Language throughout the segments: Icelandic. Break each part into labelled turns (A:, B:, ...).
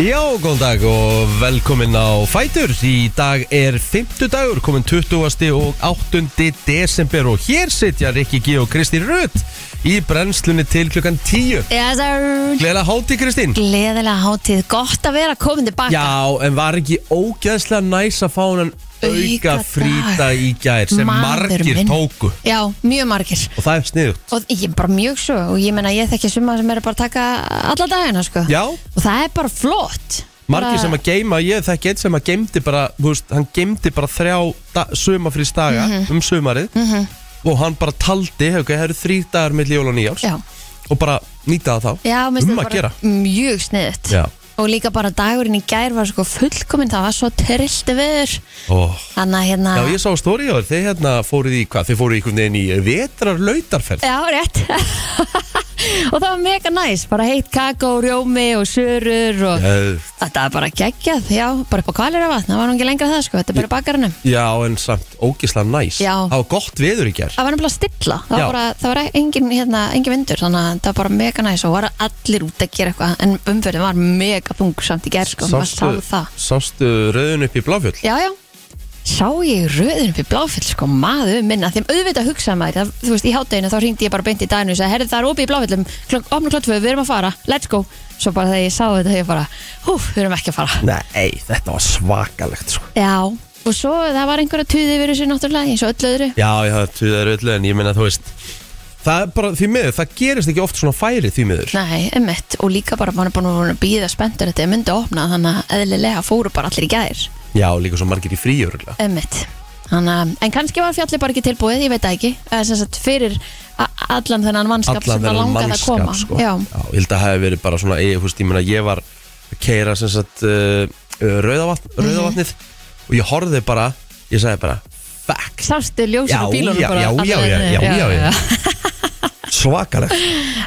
A: Já, góðan dag og velkomin á Fætur Í dag er 50 dagur, komin 20. og 8. desember Og hér sitja Rikki G og Kristi Rutt Í brennslunni til klukkan 10
B: Já, það er
A: Gleðilega hátíð Kristín
B: gleðilega hátíð, gott að vera komin tilbaka
A: Já, en var ekki ógeðslega næs að fá hann auka
B: Aukadag.
A: frýta í gær sem
B: Maður
A: margir
B: minn.
A: tóku
B: Já, mjög margir
A: og það er sniðugt
B: og ég er bara mjög svo og ég menna ég þekki suma sem eru bara að taka alla dagina sko.
A: Já,
B: og það er bara flott
A: margir sem að geima, ég þekki einn sem að geimdi bara, þú veist, hann geimdi bara þrjá da, sumafrýstaga
B: Mhm.
A: um sumarið og hann bara taldi, hefur það eru þrý dagar milli jól og nýjárs
B: Já,
A: og bara nýta það þá,
B: já mér finnst
A: um
B: það
A: að
B: bara
A: gera
B: Mjög sniðut
A: Já,
B: Og líka bara dagurinn í gær var sko fullkominn það var svo trillti viður
A: Ó.
B: Þannig að hérna
A: Já, ég sá stóri á þér, þið hérna fóruð í hvað, þið fóruð í einhvern veginn í vetrarlautarferð
B: Já, rétt Og það var mega næs, bara heitt kakó, rjómi og sörur og
A: Já,
B: Þetta er bara geggjað, já, bara upp á kvalir af vatn, það var nú ekki lengra það sko, þetta er bara bakarinnum.
A: já en samt, ógislega næs
B: Já.
A: Það var gott veður í gær
B: Það var nefnilega stilla, það
A: Já.
B: var, bara, það var engin, hérna, engin vindur, þannig að það var bara mega næs og var allir út að gera eitthvað, en umferðin var mega þung samt í gerð sko, maður
A: Sástu,
B: sáðu það.
A: sástu rauðin upp í bláfjöld?
B: Já, já, sá ég röðin upp í bláfell sko, maður minna, þeim auðvitað hugsaði maður, það, þú veist, í hátteginu þá ringdi ég bara beint í daginu og sagði, herri það er opið í bláfellum, klokk, opnum klottvöðu, við erum að fara, let's go. Svo bara þegar ég sá þetta, þegar ég bara, hú, við erum ekki að fara.
A: Nei, þetta var svakalegt sko.
B: Já, og svo það var einhverja tuði yfir þessu náttúrulega eins og öllu öðru
A: Já, já, það er öllu en ég meina þú veist Það er bara því miður, það gerist ekki oft svona færi því miður
B: Nei, emmett, og líka bara mann er búin að býða spenntur þetta er myndi að opna þannig að eðlilega fóru bara allir í gæðir
A: Já, líka svo margir í fríjörulega
B: Emmett Þannig að, en kannski var fjallið bara ekki tilbúið, ég veit það ekki eða sem sagt fyrir a- allan þennan mannskap sem það langaði að koma
A: sko.
B: Já,
A: ég held að hafi verið bara svona ég, húst, ég, meina, ég var að keira sem sagt uh, rauðavatn,
B: Mhm.
A: rauðavatnið og ég horfði bara, ég sagði bara fuck,
B: sástu ljósið
A: Já,
B: á bílunum
A: já,
B: bara
A: já,
B: alla
A: já,
B: leiðina.
A: já, já, já, já. svakalegt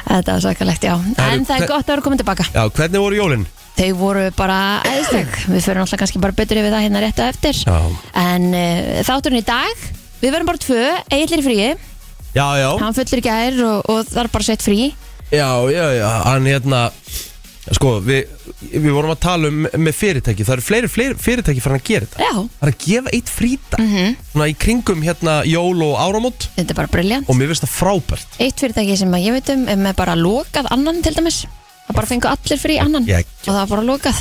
B: Þetta var svakalegt, já En
A: Herru,
B: það
A: hve-
B: er gott að vera komin tilbaka
A: Já, hvernig voru jólin?
B: Þau voru bara æðisleg Við fyrir náttúrulega kannski bara betur yfir það hérna rétt á eftir
A: Já.
B: En uh, þátturinn í dag Við verðum bara tvö, Egil er í fríi
A: Já, já,
B: hann fullir í gær og, og það er bara sett frí
A: já, já, já, hann hérna Sko, við, við vorum að tala um með fyrirtæki Það eru fleiri, fleiri fyrirtæki fyrir að gera þetta
B: Já,
A: Það er að gefa eitt fríta Svona í kringum hérna jól og áramót
B: þetta er bara briljant
A: Og mér finnst það frábært
B: Eitt fyrirtæki sem að ég veit um er með bara lokað annan til dæmis það bara fengu allir frí annan
A: Ég-
B: og það var bara lokað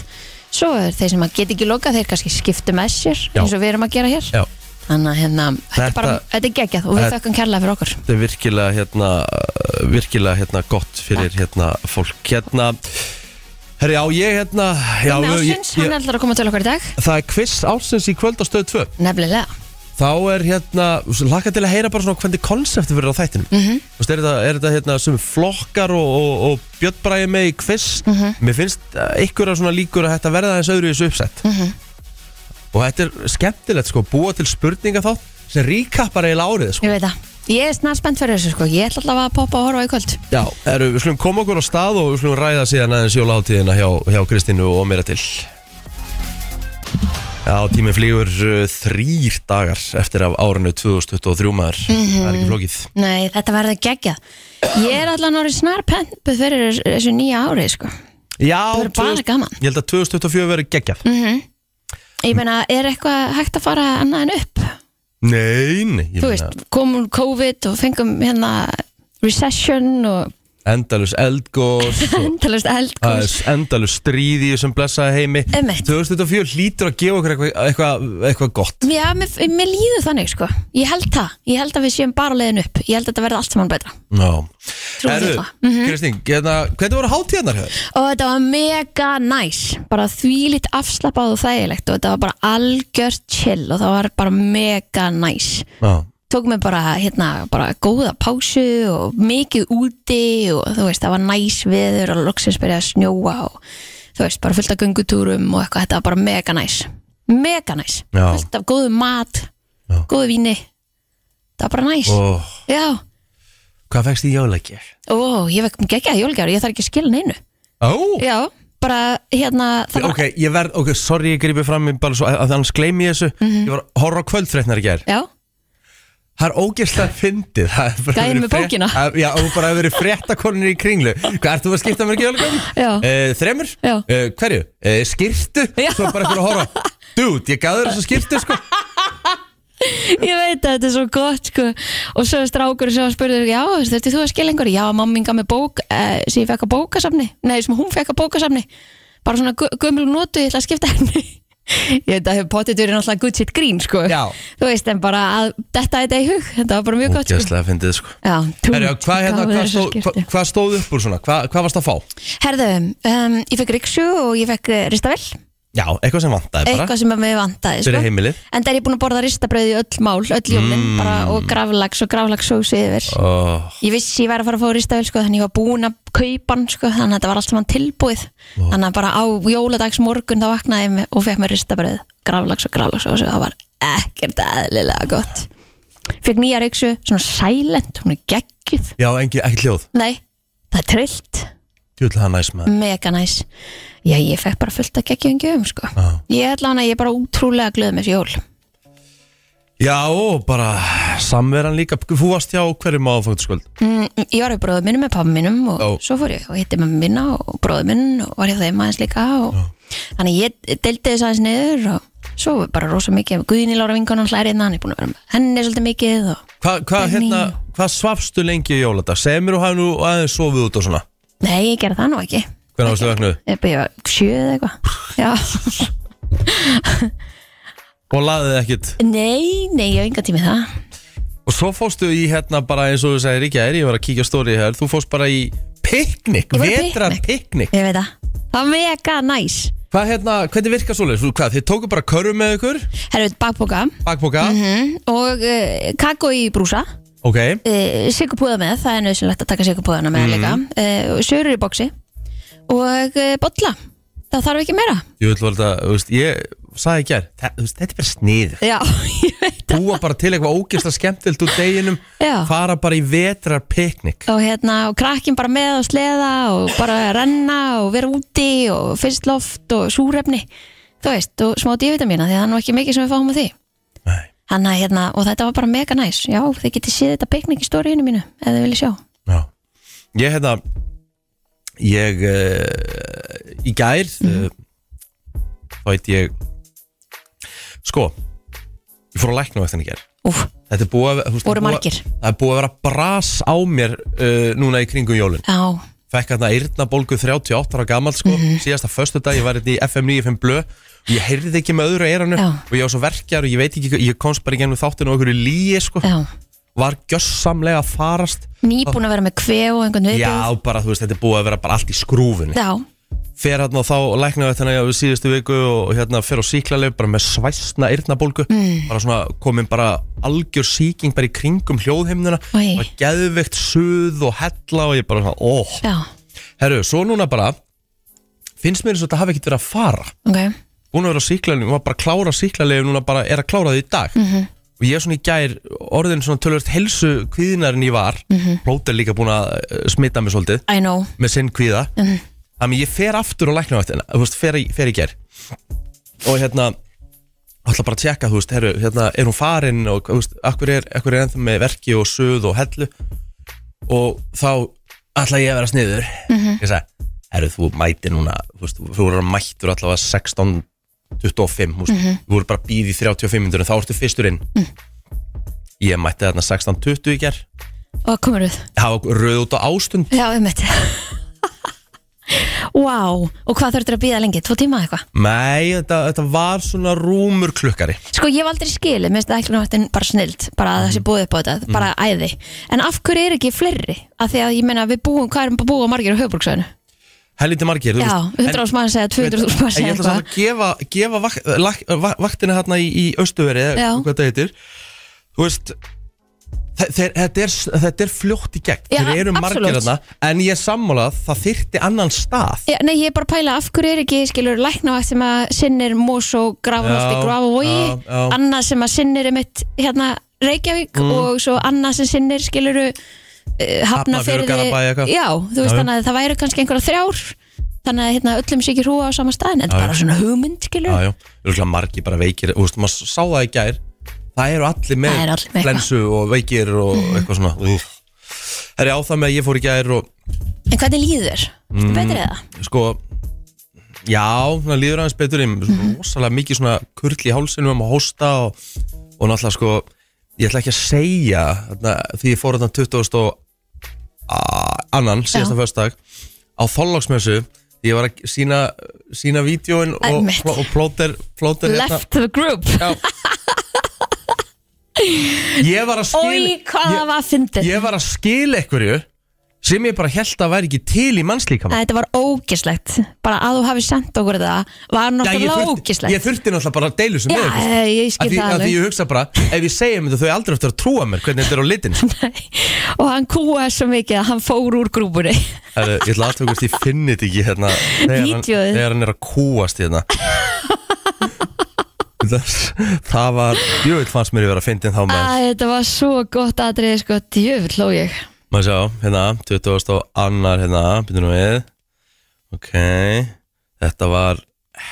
B: Svo er þeir sem að get ekki lokað þeir kannski skiptu með sér
A: Já.
B: eins og við erum að gera hér
A: Já,
B: Þannig að hérna, þetta er
A: Þetta-
B: bara, þetta er geggjað og við
A: Þetta-
B: þökkum kærlega fyrir okkur
A: þetta er virkilega hérna uh, Virkilega hérna gott fyrir hérna fólk Hérna Herri, já, ég hérna já,
B: Með
A: ég,
B: ásins, hann
A: ég,
B: ætlar að koma til okkur í dag
A: Það er quiz ársins í kvöld á stöð 2
B: Nefnilega,
A: þá er hérna, laka til að heyra bara svona hvernig konsepti verður á þættinum mm -hmm. er þetta, er þetta hérna sem flokkar og, og, og bjöttbræði með í quiz mér finnst einhverja svona líkur að þetta verða aðeins öðru í þessu uppsett og þetta er skemmtilegt sko, búa til spurninga þá sem ríkappar eiginlega árið sko.
B: ég veit það Ég er snart spennt fyrir þessu sko, ég ætla allavega að poppa og horfa í kvöld
A: Já, eru, við slum koma okkur á stað og við slum ræða síðan aðeins jólaháttíðina hjá, hjá Kristínu og meira til Já, tíminn flýgur uh, þrýr dagar eftir af árinu 2023 maður, það er ekki flókið
B: Nei, þetta verður geggjað Ég er allan árið snarpenpu fyrir þessu nýja árið sko.
A: Já,
B: Það verður bara
A: 2000
B: gaman. Mhm.
A: Ég held að 2024 verður geggjað
B: Ég meina, er eitthvað hægt að fara annað en upp?
A: Nei, nei ég meina,
B: Þú veist, komum COVID og fengum hérna recession og
A: Endalus eldgós og
B: endalust eldkurs
A: aðeins Endalus stríð í þessum blessaða heimi
B: Einmitt.
A: 2024 hlýtur að gefa okkur eitthvað eitthva, eitthva gott
B: Já, mér, mér líður þannig sko Ég held það, ég held að við séum bara á leiðin upp Ég held að þetta verði allt saman betra
A: Ná
B: Trúi því það. Mhm.
A: Kristín, hérna, hvernig voru hátíðarnar hér?
B: Og þetta var mega næs Bara þvílitt afslappað og þægilegt Og þetta var bara algjört chill Og það var bara mega næs
A: Já
B: tók mér bara, hérna, bara góða pásu og mikið úti og þú veist, það var næs veður og loksins byrjaði að snjóa og þú veist, bara fullt af göngutúrum og eitthvað, þetta var bara mega næs mega næs,
A: Já.
B: fullt af góðu mat
A: Já.
B: góðu víni það var bara næs,
A: Ó,
B: já
A: Hvað fegst í jólækjör?
B: ó, ég vekk ekki að jólgjár, ég þarf ekki að skila neinu
A: Ó
B: já, bara, hérna það var,
A: Ok, ég verð, ok,
B: Mhm.
A: sorry ég grípi fram í bara svo að að annars gleymi ég þessu Ég var að horfa á kvöldfréttnar í gær
B: já,
A: Það er ógeðslega fyndið Það er bara
B: Gæinn
A: verið
B: með
A: frétt-
B: bókina.
A: að- Já, og bara hefur verið fréttakonur í kringlu Hvað, ert þú að skipta mér ekki öllum?
B: Já.
A: uh, Þremur?
B: Já.
A: Eh, hverju? Uh, skirtu?
B: Já.
A: Svo bara eitthvað að horfa Dude, ég gaf þér þessu skirtu sko
B: Ég veit að þetta er svo gott sko Og svo er strákur sem spurði Já, þurfti þú að skilja einhverju? Já, mamminga með bók eh, sem ég fekk að bókasafni Nei, sem hún fekk að bókasafni Bara svona gu- gömul notu, ég ætla að skipta henni Ég veit að hefur potið verið náttúrulega good shit grín sko
A: Já.
B: Þú veist, en bara að þetta þetta í hug Þetta var bara mjög gott sko
A: Ógeðslega fyndið sko
B: Já, tún,
A: Herra, hvað, hérna, hvað, stóð, hvað, hvað stóð upp úr svona? Hvað, hvað varst að fá?
B: Herðu, um, ég fekk riksu og ég fekk eh, ristavél
A: Já, eitthvað sem vantaði bara
B: Eitthvað sem að mig vantaði
A: Fyrir
B: sko.
A: heimilið
B: En það er ég búin að borða ristabröð í öll mál, öll jólin
A: Mm.
B: bara, og graflags og graflagssósi yfir
A: oh,
B: Ég vissi ég væri að fara að fá ristavél sko, þannig ég var búin að kaupa hann sko, þannig að þetta var allt saman tilbúið þannig að bara á jóladags morgun þá vaknaði ég með- og fekk mér ristabröð graflags og graflags og það var ekkert eðlilega gott Fekk nýja reyksu, svona silent hún er geggjuð,
A: Já, engi, ekki hljóð
B: nei, það er trillt
A: Tjóðlega það næs maður
B: mega næs Já, ég fekk bara fullt að geggjuðum gjöfum sko
A: Já.
B: Ég ætla hana, ég er bara útrúlega glöð með þessi jól
A: Já, og bara samveran líka Þú varst hjá hverjum áfangtaskvöld
B: Mm, ég var við bróðum minnum með pappa minnum og
A: Ó.
B: svo fór ég og hitti mamma minna og bróðum minn og var ég þeim aðeins líka og þannig ég deldi þess aðeins niður og svo bara rosa mikið Guðni Lára vinkonum hlæriðna, hann er búin að vera með henni svolítið mikið og
A: Hvað hva,
B: Benny.
A: hérna, hva svafstu lengi í jóladag? Segð mér og hafi nú aðeins sofið út og svona
B: nei, ég gera það nú ekki
A: Hvernig varstu vegnuð?
B: ég bara- ég var sjöð eitthvað já,
A: Og laðið ekkit
B: nei, nei, ég hef enga tími í það
A: Og svo fóstu í hérna bara eins og þú segir ekki að ég var að kíkja stóri hér Þú fóst bara í piknik,
B: Ég fór í
A: vetrar piknik
B: ég veit það, það var mega næs
A: Hvað hérna, hvernig virkar svoleiðis? Þú- Hvað, þið tóku bara körfu með ykkur,
B: herrið bakboka
A: bakboka,
B: mm, og uh, kakó í brúsa
A: ok
B: uh, sigurpúða með, það er nöðsynlegt að taka sigurpúðana með líka, uh, sörur í boksi og uh, bolla það þarf ekki meira
A: Ég vil vera þetta, þú veist, ég sagði í gær þa- þú veist, Þetta er bara snið
B: já, ég veit það.
A: Búa bara til eitthvað ógeðslega skemmtilt úr deginum
B: Já.
A: Fara bara í vetrar piknik
B: og hérna, og krakkin bara með og sleða og bara renna og vera úti og fyrst loft og súrefni þú veist, og smá dívitamína því að það er nú ekki mikið sem við fáum á því
A: Nei,
B: Hanna, hérna, og þetta var bara mega næs já, þið getið séð þetta piknik í stóriðinu mínu ef þið viljið sjá
A: já Ég, hérna Ég uh, Í gær
B: Mhm.
A: mm. uh, Þvætt ég Sko Ég fór að lækna á eftir henni í gær
B: Úf,
A: Þetta er búið að þú veist,
B: Voru
A: það er búið-
B: margir?
A: Það er búið að vera bras á mér uh, Núna í kringum jólin
B: já,
A: fekk hérna eyrnabólgu 38 ára gammal sko,
B: Mhm.
A: síðasta föstu dag, ég var hérna í FM 95 blö ég heyrði ekki með öðru eyranu
B: Já.
A: og ég var svo verkjar og ég veit ekki, ég komst bara í gennum þáttinu og einhverju líi sko,
B: já
A: var gjössamlega að farast
B: nýbúin að vera með kvef og einhvern viðbjóð
A: Já, bara þú veist, þetta er búið að vera bara allt í skrúfunni
B: já,
A: Fer hérna og þá læknaði þetta hérna við síðustu viku og hérna fer á síklarleif bara með svæsna eyrnabólgu bara svona komin bara algjör síking bara í kringum hljóðheimnuna
B: Oj.
A: bara geðveikt suð og hella og ég bara svona, óh
B: já,
A: Herru, svo núna bara finnst mér eins og þetta hafi ekkert verið að fara
B: ok
A: búin að vera á síklarleginu, hún var bara að klára síklarleginu núna bara er að klára því í dag -hmm. og ég er svona í gær orðin svona tölvöld helsu kvíðinar en ég var mm -hmm. er líka búin að eh, smita mig svolítið
B: I know
A: með sinn kvíða -hmm. þannig ég fer aftur og lækna á þetta þú veist, fer, í- fer í gær og hérna ætla bara að tjekka, þú veist, herru, hérna er hún farin og þú veist, akkur er, akkur er ennþá með verki og suð og hellu og þá ætla ég að vera sniður ég sagði, herru, þú mæti núna þú veist, þú voru mættur allavega 16 25, þú veist, þú voru bara býð í 35 minnur, þá ertu fyrstur inn ég mætti þarna 16 20 í gær,
B: Og komur við
A: það var röð út á ástund
B: Já, um þetta Vá, og hvað þurftur að býða lengi? Tvo tíma eða eitthvað?
A: Nei, þetta, þetta var svona rúmur klukkari
B: Sko, ég hef aldrei skilið, mér finnst það ekki náttúrulega bara snild bara að það sé búið upp á þetta, bara æði En af hverju er ekki fleiri? Af því að ég meina við búum, hvað erum búið margir á höfbruksvæðinu?
A: Helviti margir, þú
B: Já, um 100.000 manns eða 200.000 manns
A: En ég ætla
B: eða eitthvað
A: samt að gefa, gefa vak, lak, va- vaktina hérna í, í Östuveri eða
B: Já.
A: hvað það heitir Þú veist þe- þeir, þetta, er, þetta er fljótt í gegn
B: Já,
A: Þeir eru margir
B: absolutt.
A: hérna En ég er sammálað, það þyrfti annan stað
B: Já, Nei, ég er bara að pæla af hverju er ekki, skilur, lækna á eftir sem að sinnir Mós og
A: Já,
B: Grafanholti,
A: já,
B: Grafavogi
A: já. Mm.
B: annað sem að sinnir um eitt, hérna, Reykjavík og svo annað sem sinnir, skilur, uh,
A: Hafnarfjörður,
B: Hafnafjörði
A: Garðabæ, eitthvað.
B: Já, þú
A: Já,
B: veist
A: já.
B: þannig að það væri kannski einhverja þrjár þannig að hérna, öllum sé ekki hrúa á sama staðin en
A: Já,
B: bara
A: já.
B: svona hugmynd, skilur
A: Jájú, örgulega margir bara veikir Þú veist, maður sá það í gær það eru allir með
B: Það eru allir með eitthvað.
A: flensu og veikir og eitthvað svona Úff. Það er á það með að ég fór í gær og
B: En hvernig líður þér? Mm. Betur eða?
A: sko já, það líður aðeins betur í mér, svona rosalega mikið svona kurl í hálsinum um að hósta og, og náttúrulega sko ég ætla ekki að segja þarna, því ég fór þarna 20. og a- annan, síðasta föstdag á þollagsmessu ég var að sína, sína vídjóin og,
B: Einmitt.
A: og plóter, plóter hérna.
B: Left the group
A: ég var að skil
B: Ói, hvað það var að fyndið
A: ég var að skil einhverju sem ég bara held að væri ekki til í mannslíkama
B: Að Þetta var ógislegt Bara að þú hafi sendt okkur það Var
A: Já, ég,
B: náttúrulega
A: þurfti,
B: ógislegt
A: ég þurfti náttúrulega bara að deilu sem
B: Já,
A: með ykkur, sko.
B: eh, ég skil
A: Af því,
B: það
A: af því
B: alveg.
A: ég hugsa bara, ef ég segja mér þetta þau aldrei eftir að trúa mér hvernig þetta er á litin sko.
B: Og hann kúaði svo mikið að hann fór úr grúbunni
A: Herru, Ég ætla aðtöku hvort ég finni þetta ekki hérna, þegar, hann,
B: Vídeóið.
A: þegar hann er að kúast hérna Þess- Það var, jöfull fannst mér ég vera að fyndin þá með
B: Að Þetta var svo gott atrið sko Djöfull hló ég
A: Maður sjá, hérna, 20. og annar hérna, byrjum við Ok, þetta var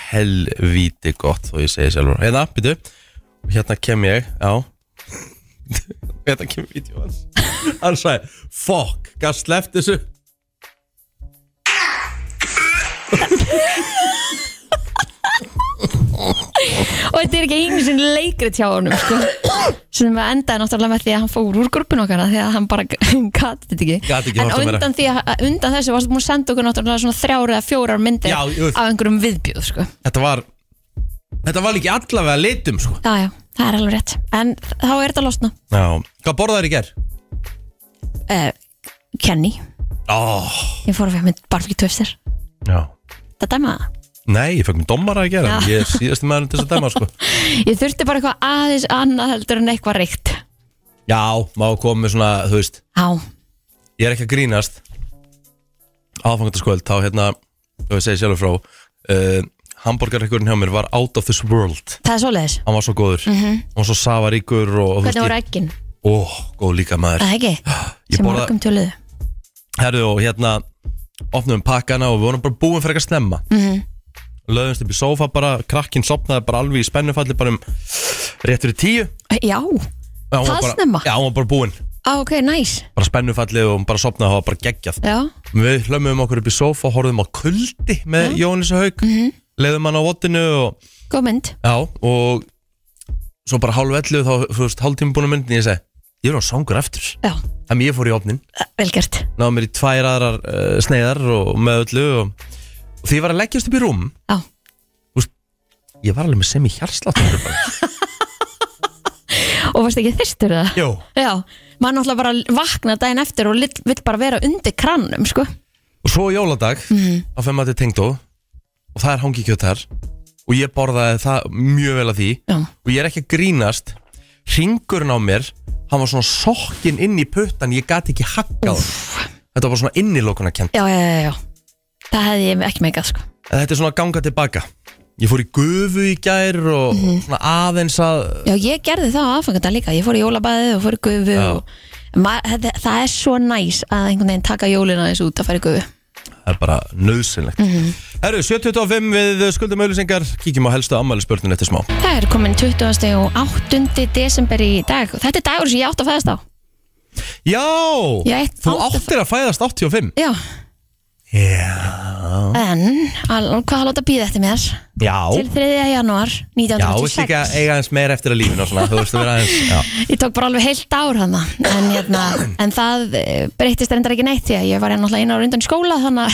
A: helvíti gott þó ég segi sjálfur Hérna, byrju, hérna kem ég, já Hérna kem vídeo hans Hann sagði, fuck, gaf sleppt þessu
B: Og þetta er ekki einu sinni leikrit hjá honum sko Sem að endaði náttúrulega með því að hann fór úr grúbun okkar Því að hann bara gat þetta ekki
A: Gat ekki
B: En
A: horft á meira.
B: undan, því að, undan þessu varstu búin að senda okkur náttúrulega svona þrjár eða fjórar myndir
A: Já, jú.
B: Af einhverjum viðbjóð sko
A: Þetta var, þetta var líki allavega litum, sko
B: Já, já, það er alveg rétt En þá er þetta að losna
A: Já, hvað borðaðir í ger?
B: uh, Kenny,
A: Ó,
B: ég fór að fyrir með barbeki töfstir
A: já
B: Það dæma það
A: Nei, ég fekk mér dómara að gera,
B: Já.
A: ég er síðasti maður til þess að dæma, sko
B: Ég þurfti bara eitthvað aðeins annað heldur en eitthvað reykt
A: Já, má koma með svona, þú veist
B: Já,
A: ég er ekki að grínast aðfangandaskvöld þá hérna, ef ég segi sjálfur frá uh, hambúrgarreikurinn hjá mér var out of this world
B: það er svoleiðis
A: hann var svo góður, mm -hmm. hann var svo safaríkur og, og þú
B: Mhm. Hvernig voru
A: ég,
B: eggin?
A: ó, góð líka maður
B: Það ekki?
A: Ég
B: Sem
A: borða-
B: borða... mörgum töluðu
A: herðu og hérna opnum pakkana og við vorum bara búin fyrir ekki að snemma mm
B: Mhm.
A: -hmm. löðumst upp í sófa bara krakkinn sopnaði bara alveg í spennufalli bara um rétt fyrir tíu
B: Eh, Já,
A: Já, hún
B: Það
A: var bara-
B: snemma?
A: Já, hún var bara búin,
B: á, ok, nice
A: bara spennufalli og hún bara sopnaði og það var bara geggjað
B: Já,
A: Við hlömmum okkur upp í sófa og horfðum á kuldi með Jóhannes Haug mm -hmm. leiðum hann á vottinu og,
B: góð mynd
A: já, og svo bara hálf ellu þá, þú veist, hálf tíma búin að myndin ég segi, ég er á sangur eftir
B: Já,
A: þannig ég fór í opnin,
B: Eh, velgjart
A: náðum mér í tvær aðrar uh, sneiðar og með öllu og, og því ég var að leggjast upp í rúm
B: Já,
A: ég var alveg með sem í hjarslátt
B: og varstu ekki þyrstur það?
A: Jó,
B: Já, maður náttúrulega bara vakna daginn eftir og lill- vill bara vera undir krannum, sko
A: og svo á jóladag á fem að þetta tengdó og það er hangi kjött þar og ég borðaði það mjög vel að því
B: Já,
A: og ég er ekki að grínast ringurinn á mér hann var svona sokkinn inn í puttan ég gati ekki hakkað þetta var bara svona innilokuna kent
B: já, já, já, já. Það hefði ég ekki megað, sko
A: þetta er svona að ganga tilbaka ég fór í gufu í gær og svona aðeins að
B: Já, ég gerði það á aðfangandag líka Ég fór í jólabæðið og fór í gufu
A: Já.
B: og... Ma, það, það er svo næs að einhvern veginn taka jólina þessu út að fara í gufu
A: það er bara nöðsynlegt mm -hmm. Herru, 7.25 við skuldum auðlýsingar kíkjum á helstu ammælisbörnun eftir smá
B: Það er komin 20. og 8. desember í dag og þetta er dagur sem ég átt að fæðast á
A: Já,
B: Ég ætti-
A: þú áttir að fæðast 85
B: Já,
A: Já,
B: en al, hvað að láta býða eftir mér
A: já,
B: til 3. janúar
A: já veist ekki að
B: 1986
A: eiga aðeins meira eftir að lífinu og svona, þú veist að vera aðeins já.
B: Ég tók bara alveg heilt ár hann en, hérna, en það eh, breyttist reyndar ekki neitt því að ég var hérna náttúrulega einu ára undan í skóla þannig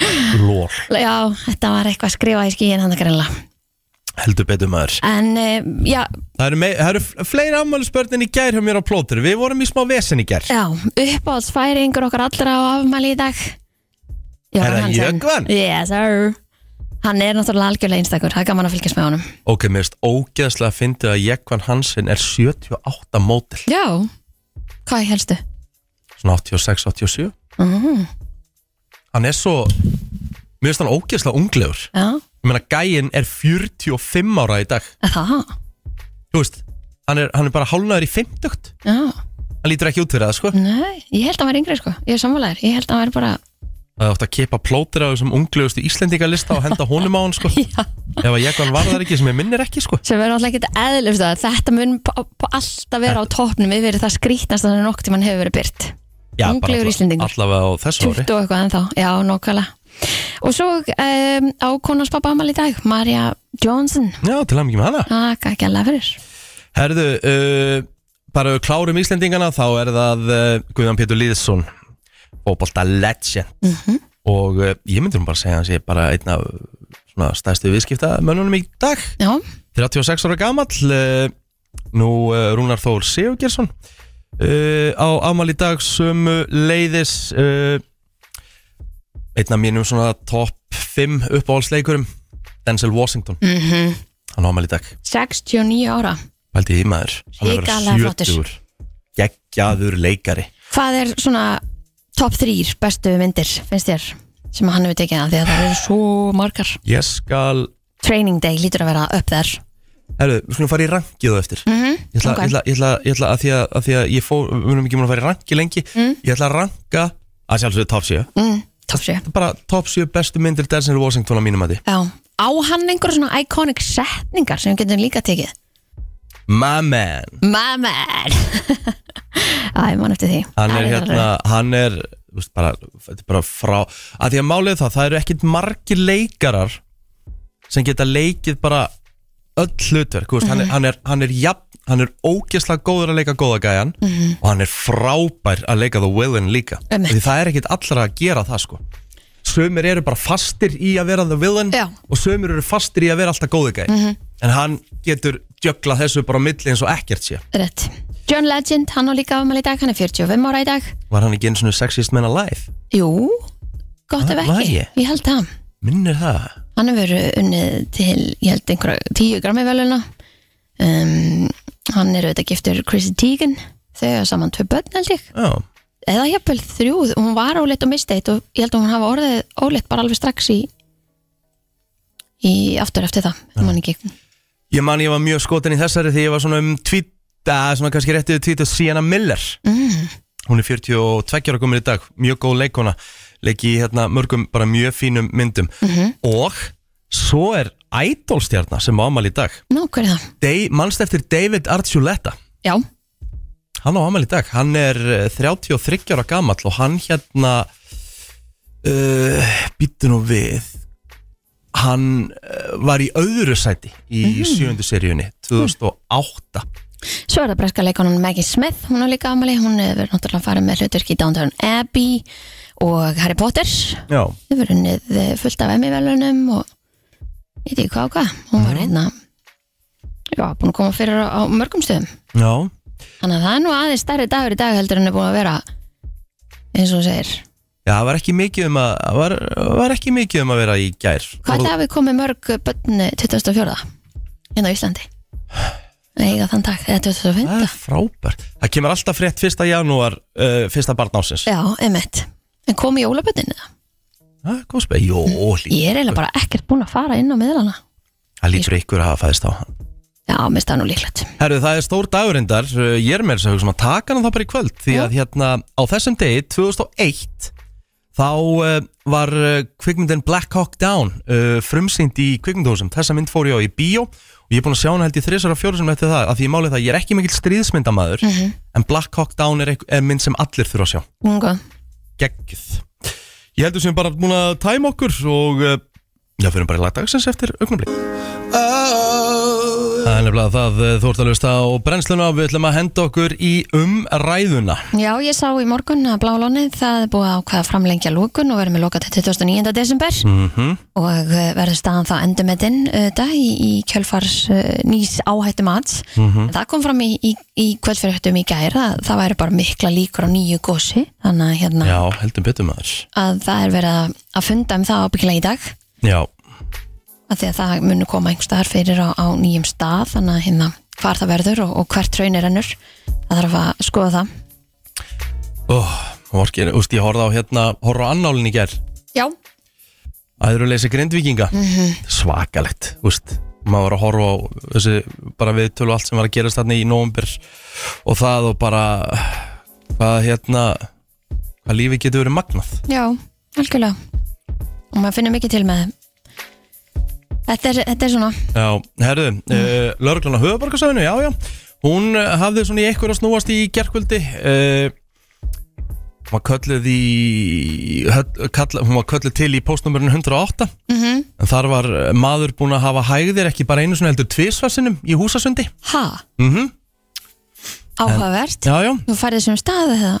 B: að
A: Lór,
B: já, þetta var eitthvað að skrifa í skíin hann að greinlega
A: heldur betur maður
B: En eh, já,
A: Það eru, mei- það eru f- fleiri afmælisbörn en í gær hjá mér á plótur Við vorum í smá vesen í gær
B: Já, uppáhaldsfæringur okkar allra á afmæli í dag
A: Er það Jökvan?
B: Yes, sir Hann er náttúrulega algjörlega einstakur, það er gaman að fylgjast með honum
A: Ok, mér finnst ógeðslega að fyndið að Jekvan Hansen er 78 mótil
B: Já, hvað helstu?
A: Svona 86-87
B: Mm,
A: Hann er svo Mér finnst hann ógeðslega unglegur
B: já,
A: Ég meina, gæinn er 45 ára í dag
B: er það
A: Þú veist, hann er, hann er bara hálnaður í 50
B: Já,
A: Hann lítur ekki út fyrir það, sko
B: nei, ég held að hann væri yngri sko Ég er sammálaður, ég held að hann væri bara
A: Það átt að kepa plótur á þessum unglegustu Íslendingalista og henda honum á hann, sko
B: Já,
A: ef að ég var þar ekki sem ég minnir ekki sko
B: sem verður alltaf ekkert eðlust að þetta mun p- p- alltaf vera á toppnum yfir það skrítnast þannig nokk tímann hefur verið byrt
A: Já, bara
B: Unglegur
A: alla-
B: Íslendingur.
A: Allavega á þessu
B: 20
A: ári
B: og eitthvað ennþá, já nokkvælega og svo um, á konans pappa amal í dag, Marja Johnson
A: Já, til hann ekki með hana
B: takk ekki alveg fyrir
A: Herðu, uh, bara við klárum Íslendingana þá er það uh, Guðan Pétur Lýðsson Fóbalta legend
B: Mhm.
A: Og uh, ég myndi nú bara segja að hann sé bara einn af svona stæðstu viðskipta mönnunum í dag
B: já,
A: 36 ára gamall uh, Nú uh, Rúnar Þór Sigurgjersson uh, Á afmæli í dag sömu leiðis uh, Einn af mínum svona top 5 uppáhaldsleikurum Denzel Washington mm
B: Mhm.
A: -hmm. Hann á afmæli í dag
B: 69 ára
A: Vældi því maður Hann er að vera
B: Hrikalega flottur.
A: 70. Geggjaður leikari
B: hvað er svona top 3 bestu myndir, finnst þér sem hann hefur tekið að því að það eru svo margar
A: Ég skal
B: training day lítur að vera upp þær
A: Herru, við skulum fara í rankið á eftir
B: Mhm,
A: Ég ætla,
B: ok.
A: ég ætla, ég ætla, ég ætla að, því að, að því að ég fór Við erum ekki múin að fara í ranki lengi
B: Mhm.
A: Ég ætla að ranka að sjálfsögðu top 7
B: mm, top 7
A: Þetta er bara top 7 bestu myndir Denzel Washington á mínum að því
B: já. á hann einhverja svona iconic setningar sem við getum líka tekið
A: My man
B: my man Æ, ég man eftir því
A: Hann er
B: Æ,
A: hérna, hann er þú veist, bara, Þetta er bara frá að Því að málið er það, það eru ekkit margir leikarar sem geta leikið bara öll hlutverk þú veist,
B: Mhm.
A: hann, er, hann, er, hann er jafn, hann er ógeðslega góður að leika góða gæjan og hann er frábær að leika The Villain líka
B: Mhm. Einmitt.
A: því það er ekkit allra að gera það sko sömur eru bara fastir í að vera The Villain
B: Já. Mhm.
A: og sömur eru fastir í að vera alltaf góða gæj en hann getur djöglað þessu bara á milli eins og ekkert sé
B: Rétt. John Legend, hann á líka afmæli í dag, hann er 45 ára í dag.
A: var hann ekki eins og sexist menn alive
B: Jú, gott ef
A: Var- var
B: ekki.
A: ég?
B: Ég held það.
A: minnir það
B: Hann hefur verið unnið til, ég held einhverja tíu grammi veluna. Um, hann er auðvitað giftur Chrissy Teigen, þau er saman tvö börn held ég.
A: Já.
B: Eða jafnvel þrjú, hún var óleitt og misteitt og ég held að hún hafa orðið óleitt bara alveg strax í, í aftur eftir það. Ja. Man ekki,
A: Ég man ég var mjög skotin í þessari því ég var svona um tvíta, svona kannski réttið tvíta Sienna Miller
B: Mm.
A: Hún er 42 ára komin í dag, mjög góð leikona Leiki í hérna mörgum bara mjög fínum myndum Og svo er ædolstjarnar sem á amal í dag
B: nú, hver er það?
A: Dei, Manst eftir David Archuleta
B: Já,
A: Hann á amal í dag, hann er eh, 33 ára gamall og hann hérna uh, Býttu nú við Hann eh, var í öðru sæti
B: Mhm.
A: í sjöundu seríunni 2008
B: Svo er það breska leikonan Maggie Smith, hún er líka afmæli, hún hefur náttúrulega farið með hluturk í Downtown Abbey og Harry Potter,
A: Já,
B: hefur unnið eh, fullt af Emmy-velunum og ég veit ekki hvað og hvað, hún var einna, já, búin að koma fyrir á á mörgum stöðum.
A: já,
B: Þannig að það er nú aðeins stærri dagur í dag heldur en er búin að vera, eins og hún segir.
A: já, það var ekki mikið um að það var, var ekki mikið um að vera í gær
B: Hvað ætlaði að við komið mörg eh, bönni 24. hérna á Íslandi? Eiga þann dag, eða 25.
A: Það er frábært Það kemur alltaf frétt 1. janúar uh, fyrsta barn ásins
B: Já, einmitt. En kom í jólabönninni það?
A: Það er góð spil, jó, lí-
B: Ég er eiginlega bara ekkert búin að fara inn á miðlana.
A: það lítur ykkur að hafa fæðist á hann
B: Já, mér staði nú líklegt.
A: Herru, það er stór dagurindar Ég er með þess að hugsa um að taka hann þá bara í kvöld Því að hérna á þessum degi, 2001 Þá uh, var uh, kvikmyndin Black Hawk Down uh, frumsýnd í kvikmyndahúsum Þessa mynd fór ég á í bíó Og ég er búin að sjá hana held í þrisar og fjóru sem eftir það Af því ég málið það, að ég er ekki mikill stríðsmyndamaður En Black Hawk Down er, eitth- er mynd sem allir þurfa að sjá
B: Unga.
A: Gekkið Ég heldur sem bara múin að tæma okkur Og uh, já, fyrir bara í lagdagsins eftir augnablik Það er nefnilega það eh, þú ert að lusta á brennsluna og við ætlum að henda okkur í umræðuna
B: Já, ég sá í morgun að Blá Lónið það er búið að ákvaða að framlengja lókun og verður með lóka til 29. desember
A: mm
B: og eh, verður staðan þá endumetinn auðvitað í, í kjölfars eh, nýs áhættum aðs. Það kom fram í, í, í kvöldfyrirhættum í gæra að það væri bara mikla líkur á nýju gósi þannig að, hérna,
A: Já, heldum betur maður
B: að það er verið að- að funda um það ábyggilega í dag
A: Já,
B: að því að það munu koma einhver staðar fyrir á, á nýjum stað þannig að hérna hvar það verður og, og hvert traun er ennur það þarf að skoða það
A: óh, orkir, úst, ég horfði á hérna, horfði á annálinn í gerð
B: Já,
A: æðruleysi grindvíkinga svakalegt, úst maður var að horfa á þessi bara viðtölu og allt sem var að gerast þarna í nóvumber og það og bara hvað hérna hvað lífi getur verið magnað
B: já, algjörlega og maður finnir mikið til með Þetta er, þetta er svona
A: Já, herðu, uh, lauruglan á höfuborgarsafinu, já, já Hún uh, hafði svona í ekkur að snúast í gerkvöldi uh, Hún var kölluð í höll- kalla, Hún var kölluð til í postnumurinn 108
B: Mhm.
A: En þar var uh, maður búinn að hafa hægðir ekki bara einu svona heldur tvisvarsinum í húsasundi
B: Ha,
A: mm
B: áhugavert
A: Já, já,
B: Þú færið þessum staðu það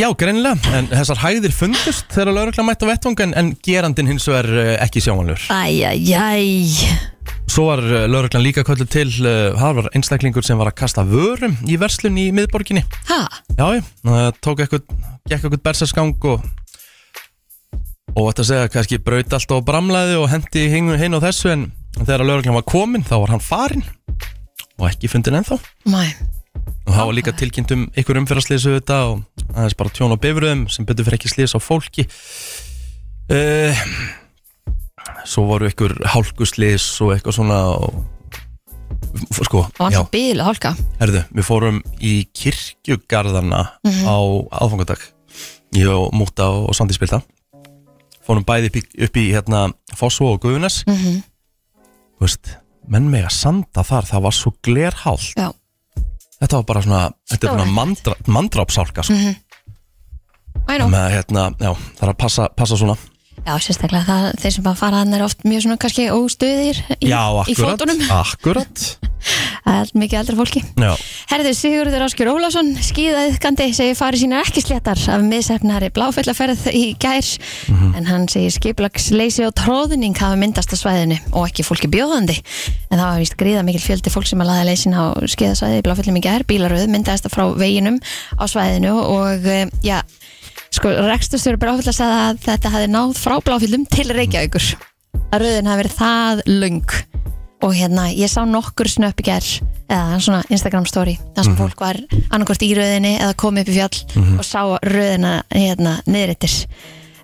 A: já, greinilega En þessar hægðir fundust þegar lauruglan mætti á vettvang En, en gerandin hins vegar uh, ekki sjáanlur
B: Æjæjæj
A: Svo var uh, lauruglan líka kölluð til uh, Það var einstaklingur sem var að kasta vörum í verslun í miðborginni
B: Ha,
A: Já, já, það tók eitthvað Gekk eitthvað berserskang og Og þetta segja, kannski braut allt og bramlaði Og hendi hingu hinn og þessu En þegar lauruglan var komin, þá var hann farin Og ekki fundin ennþá
B: mæ
A: Og það var líka tilkynnt um ykkur umferðarslýs þetta og aðeins bara tjón á bifröðum sem betur fyrir ekki slýs á fólki uh, Svo voru ykkur hálkuslýs og eitthvað svona og, f- sko,
B: Og
A: já,
B: alltaf bíl og hálka
A: herðu, við fórum í kirkjugarðana á aðfangadag ég og Múta og, og Sandi spilta fórum bæði upp í, upp í hérna, Fossvo og Guðunas mm -hmm. veist, menn mega sanda þar það var svo glerhált
B: Já,
A: þetta var bara svona, þetta er
B: Stórhættulegt. Mhm.
A: svona mandra, mandrápsálka sko.
B: I know
A: með hérna, já, það er að passa, passa svona
B: Já, sérstaklega það, þeir sem bara fara þannig er oft mjög svona kannski óstuðir í,
A: já,
B: í
A: akkurat,
B: fótunum
A: akkurat
B: Það er mikið eldra fólki
A: já,
B: Herðu Sigurður Áskjör Ólafsson, skíðaðiðkandi segir farið sínar ekki sléttar af miðsefnari bláfellaferð í gærs en hann segir skiplagsleysi og tróðning hafa myndast að svæðinu og ekki fólki bjóðandi en það var vist gríða mikil fjöldi fólk sem að laða leysin á skíðasvæði í bláfellum í gær bílaröð myndaðist að frá veginum á svæðinu og eh, já, sko rekstustjóri bláfella sagði að þetta hafi náð frá bláfellum til Reykjavíkur að röðin hafi verið það lung og hérna, ég sá nokkur snöpp í gerð eða svona Instagram story þar sem fólk var annarkvort í röðinni eða kom upp í fjall og sá röðina hérna niðurittir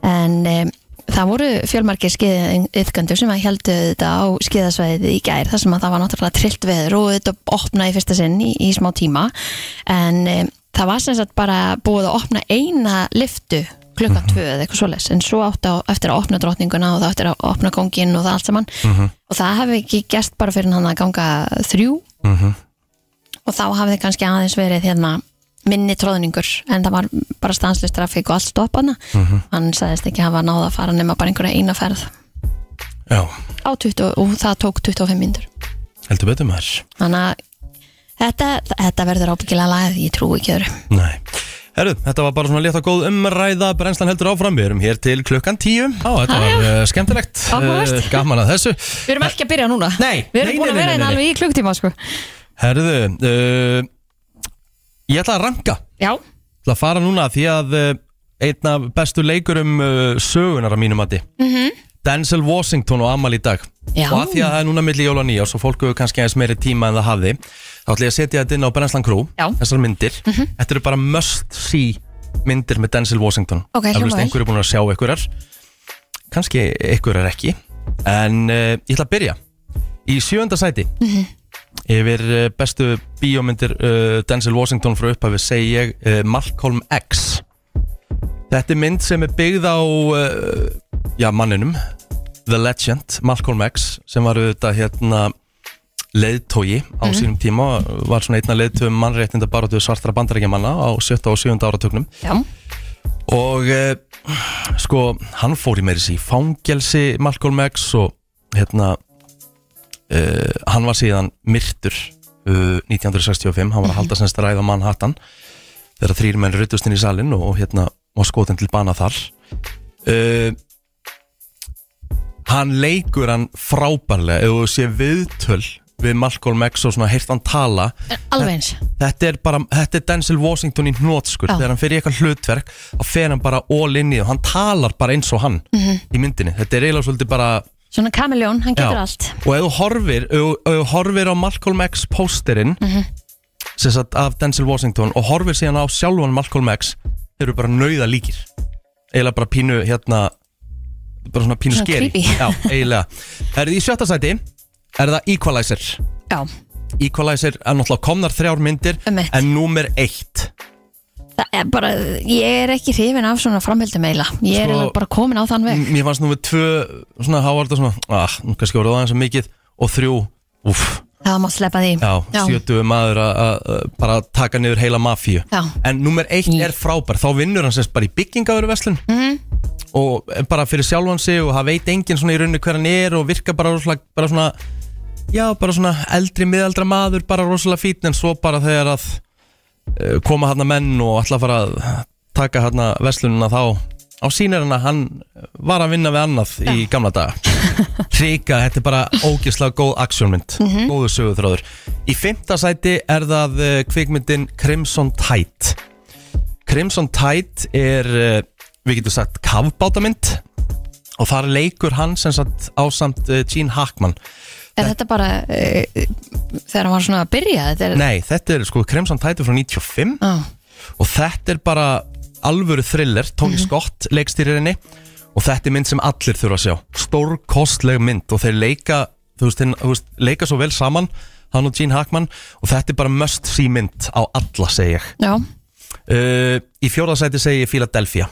B: en um, það voru fjölmargir skiðiðköndu sem að heldu þetta á skiðasvæðið í gær þar sem að það var náttúrulega trillt veður og þetta opnaði í fyrsta sinn í, í smá tíma en um, það var sem sagt bara búið að opna eina liftu klukkan tvö eða eitthvað svoleiðs en svo átti á, eftir að opna drottninguna og það eftir að opna kongin og það allt saman og það hefði ekki gert bara fyrir hann að ganga þrjú og þá hafði kannski aðeins verið hérna minni tróðningur en það var bara stanslist trafík og allt stoppana
A: Mhm.
B: hann sagðist ekki hafa náða að fara nema bara einhverja eina ferð
A: já,
B: á 20 og það tók 25 myndur
A: heldur betur maður
B: þannig að þetta, þetta verður ábyggilega lagið, ég trúi ekki öðru
A: nei Herru, þetta var bara svona létt og góð umræða brennslan heldur áfram, við erum hér til klukkan tíu Já, þetta var uh, skemmtilegt
B: Áhugavert.
A: Eh, Gaman að þessu
B: Við erum ekki að byrja núna
A: Nei,
B: Við erum
A: nei,
B: búin
A: nei,
B: að vera
A: nei,
B: hérna
A: nei, nei.
B: alveg í klukktíma sko.
A: Herðu, uh, ég ætla að ranka
B: Já,
A: ætla að fara núna því að uh, einn af bestu leikurum uh, sögunar að mínum mati
B: Mhm.
A: Denzel Washington og Amal í dag
B: Já.
A: og að því að það er núna milli jóla og nýjárs og fólk hefur kannski aðeins meiri tíma en það hafði þá ætla ég að setja þetta inn á Brenslan Crew
B: Já. Mhm.
A: þessar myndir, þetta eru bara must see myndir með Denzel Washington
B: Ok,
A: Eflaust
B: hljómar vel.
A: einhver er búin að sjá einhverjar kannski einhverjar ekki en uh, ég ætla að byrja í sjönda sæti yfir uh, bestu bíómyndir uh, Denzel Washington frá upphafi segi ég uh, Malcolm X Þetta er mynd sem er byggð á uh, já, manninum The Legend, Malcolm X sem var auðvitað hérna leiðtógi á sínum tíma var svona einna leiðtói mannréttinda baróttu svartra bandarækjamanna á 17. og 7. áratugnum
B: já,
A: og uh, sko, hann fór í meiri sér í fangelsi Malcolm X og hérna uh, hann var síðan myrtur uh, 1965, hann var að halda semst að ræða Manhattan þegar þrýr menn ruttust inn í salin og, og hérna var skotin til bana þar uh, hann leikur hann frábærlega ef þú sé viðtöl við Malcolm X og svona heyrt hann tala
B: alveg eins
A: Þetta er bara, þetta er Denzel Washington í hnótskur
B: Já.
A: Þegar hann fer í eitthvað hlutverk þá fer hann bara all in í það og Hann talar bara eins og hann
B: Mhm.
A: í myndinni Þetta er eiginlega svolítið bara
B: Svona kamiljón, hann getur
A: Já.
B: allt
A: Og ef þú horfir, ef, þú- ef þú horfir á Malcolm X pósterinn mm
B: Mhm.
A: sagt, Af Denzel Washington Og horfir síðan á sjálfan Malcolm X Þeir eru bara nauða líkir Eiginlega bara pínu hérna Bara svona pínu
B: Svona
A: skeri
B: creepy.
A: Já, eiginlega Er þið í sjötta sæti Er það Equalizer
B: Já,
A: Equalizer er náttúrulega komnar þrjár myndir
B: Einmitt.
A: En númer eitt
B: það er bara, ég er ekki hrifin af svona framhildum eila
A: Sko- Mm.
B: Ég er eiginlega bara komin á þann veg
A: Mér fannst nú með tvö svona hávarda svona, ah, nú kannski voru það aðeins að mikið og þrjú, úff,
B: Það má sleppa því
A: já,
B: Já.
A: sjötuðu maður að- að að bara taka niður heila mafíu
B: Já.
A: En nummer eitt
B: Í.
A: er frábær, þá vinnur hann semst bara í byggingaveruverslun
B: Mhm.
A: og bara fyrir sjálfan sig og það veit enginn svona í rauninni hver hann er og virkar bara rosalega, bara svona já, bara svona eldri, miðaldra maður bara rosalega fítn en svo bara þegar að uh, koma hann menn og ætla að fara að taka hann að verslunina þá á sínir hann að hann var að vinna við annað í gamla daga Ríka, þetta er bara ógislega góð aksjónmynd, mm -hmm. góðu söguþráður Í fimmta sæti er það eh, kvikmyndin Crimson Tide Crimson Tide er, eh, við getum sagt, kafbátamynd og þar leikur hann sem sagt ásamt eh, Gene Hackman
B: Er þetta bara uh, þegar hann var svona að byrja þetta er,
A: Nei, þetta er sko Crimson Tide er frá 95
B: á,
A: og þetta er bara alvöru thriller, Tony Scott leikstýrir henni og þetta er mynd sem allir þurfa að sjá stórkostleg mynd og þeir leika þú veist, þeir, þú veist, leika svo vel saman hann og Gene Hackman og þetta er bara must see mynd á alla segi ég
B: Já,
A: uh, í fjórðasæti segi ég Philadelphia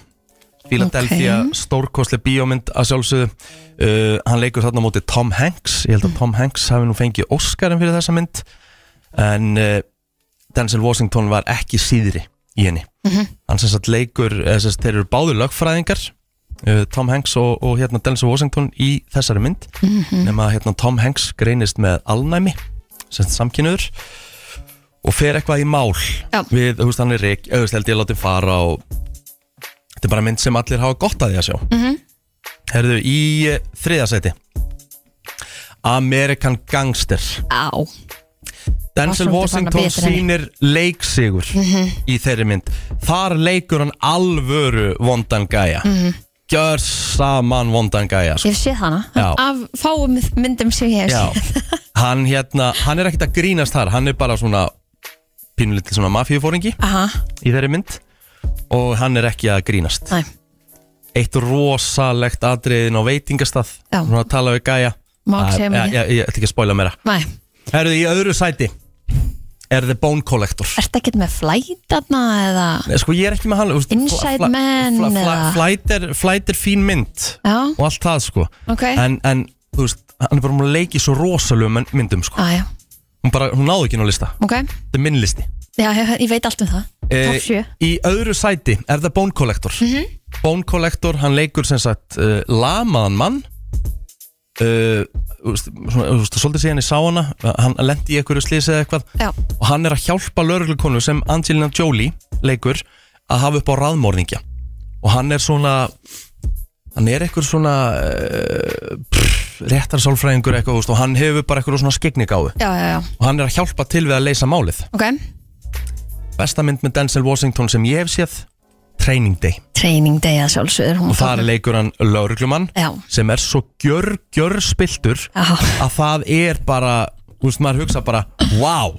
A: Philadelphia, okay. stórkostleg bíómynd að sjálfsögðu uh, hann leikur þarna á móti Tom Hanks ég held að Tom Hanks hafi nú fengið Óskarinn fyrir þessa mynd en uh, Denzel Washington var ekki síðri í henni hann sem sagt leikur, eða sem sagt þeir eru báður lögfræðingar uh, Tom Hanks og, og hérna Denzel Washington í þessari mynd nema að hérna Tom Hanks greinist með alnæmi sem sagt samkynniður og fer eitthvað í mál
B: Já.
A: við, þú veist, hann er reik, auðvist held ég látið fara og þetta er bara mynd sem allir hafa gott að því að sjá mm
B: Mhm.
A: Herðu, í uh, þriðasæti American Gangster
B: á
A: Denzel
B: Var svolítið
A: Washington
B: bara betri henni. Mhm.
A: sýnir leiksigur í þeirri mynd þar leikur hann alvöru vondan gæja
B: Mhm.
A: gjör saman vondan gæja sko.
B: Ég sé hana
A: Já.
B: Af fáum myndum sem ég hef
A: Já,
B: séð.
A: hann hérna hann er ekkert að grínast þar, hann er bara svona pínulítið svona mafíufóringi
B: Aha,
A: í þeirri mynd og hann er ekki að grínast
B: næ,
A: eitt rosalegt atriðin á veitingastað
B: Já.
A: svona að tala við gæja
B: Má ekki
A: Æ,
B: segja mikið.
A: ég, ég, ég ætla ekki að spóla meira
B: næ
A: Herðu í öðru sæti er The Bone Collector
B: Ertu ekkert með flætarna eða
A: Nei, sko ég er ekki með hann úst,
B: Inside Man eða-
A: flight, er, flight er fín mynd
B: Já,
A: og allt það sko
B: ok
A: en, en þú veist, hann er bara um að leiki svo rosalögum mynd- myndum sko
B: Æja,
A: hún, bara, hún náði ekki ná lista,
B: ok
A: þetta er minn listi
B: Já, ég, ég veit allt um það
A: Eh,
B: Top 7
A: Í öðru sæti er það Bone Collector Bone Collector, hann leikur sem sagt uh, lamaðan mann uh, þú veist, svona, þú veist, svolítið síðan ég sá hana hann lendi í einhverju slísi eða eitthvað
B: Já,
A: og hann er að hjálpa lögreglukonu sem Angelina Jolie leikur að hafa upp á raðmorðingja og hann er svona hann er eitthvað svona uh, pff, réttarsálfræðingur eitthvað þú veist, og hann hefur bara eitthvað svona skegningáðu
B: já, já, já,
A: og hann er að hjálpa til við að leysa málið
B: ok
A: besta mynd með Denzel Washington sem ég hef séð Training Day
B: Training Day að sjálfsögur
A: og þar leikur hann lögreglumann
B: Já,
A: sem er svo gjör, gjör spiltur
B: já,
A: að það er bara þú veist maður hugsa bara, wow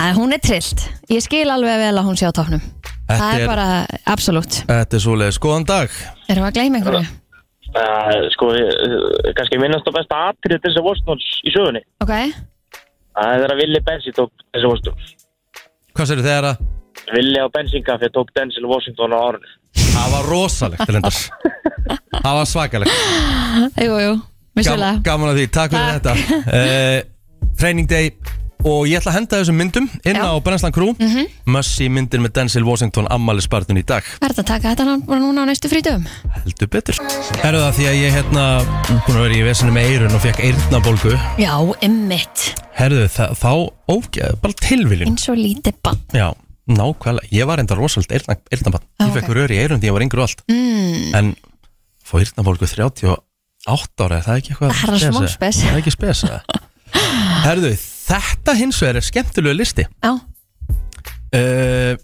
B: að hún er trillt Ég skil alveg vel að hún sé á topnum
A: þetta
B: Það
A: er,
B: er bara, absolutt
A: þetta er svoleiðis, góðan dag
B: Erum við að gleyma einhverju?
C: Uh, sko, eh, kannski minnast á besta atrið þessi Vostons í sögunni.
B: Ok,
C: Það er þegar að Willi Bensi tók þessi Vostons.
A: Hvað sér þegar að
C: Willi á bensinkafi tók Denzel Washington á árunni.
A: það var rosalegt Lindar. Það var svakalegt
B: jú, jú,
A: Gam,
B: vissulega
A: Gaman að því, takk fyrir þetta uh, Training Day og ég ætla að henda þessum myndum inn
B: Já. Mhm.
A: á Brennslan Crew mm -hmm. Mössi myndir með Denzel Washington ammælisbarnun í dag
B: Það er þetta að taka þetta nú- bara núna á næstu frítum
A: heldur betur Herðu það því að ég hérna búin að vera í vesinu með eirun og fekk eirnabólgu
B: Já, emmitt
A: Herðu það, þá ógeð, bara tilviljun
B: Eins og lítið bann
A: Já, nákvæmlega, ég var enda rosald eirnabann,
B: Já,
A: ég fekk
B: ok.
A: rör í eirun því ég var yngur og allt
B: mm,
A: en fá eirnabólgu 38 ára, er það ekki eitthvað
B: Það er
A: spes,
B: smá
A: eða?
B: spes.
A: Það er ekki spes eða? Herðu, þetta hins vegar er skemmtilegu listi
B: Já,
A: uh,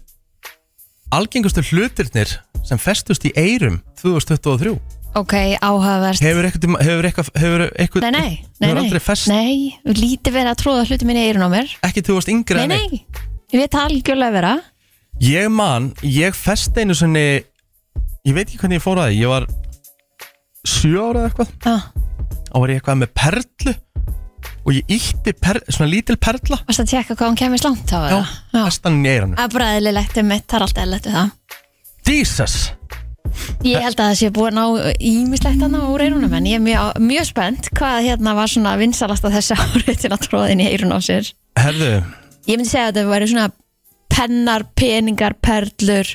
A: Algengustu hlutirnir sem festust í eirum 2023
B: ok, áhugaverst
A: Hefur eitthvað, hefur eitthvað, hefur eitthvað
B: Nei, nei, nei,
A: Hefur aldrei
B: nei,
A: fest
B: nei Lítið verið að tróða hluti minni í eyrun á mér
A: ekki til þú varst yngri
B: Nei,
A: en
B: nei, ég veit það algjörlega vera
A: ég ég man, ég fest einu sinni ég veit ekki hvernig ég fór að því ég var sjö ára eða eitthvað
B: Já,
A: og var ég eitthvað með perlu og ég ítti per, svona lítil perla
B: Varst að tjekka hvað hún kemist langt þá
A: Já,
B: eða?
A: festan í eirannu
B: Það er bara eðlilegt um mitt, það er alltaf eðlilegt við það
A: Jesus!
B: Ég held að það sé búið að ná ímislegt að ná úr eyrunum en ég er mjög, mjög spennt hvað hérna var svona vinsalasta þessi árið til að tróða inn í eyrun á sér.
A: Herðu,
B: Ég myndi segja að þetta væri svona pennar, peningar, perlur,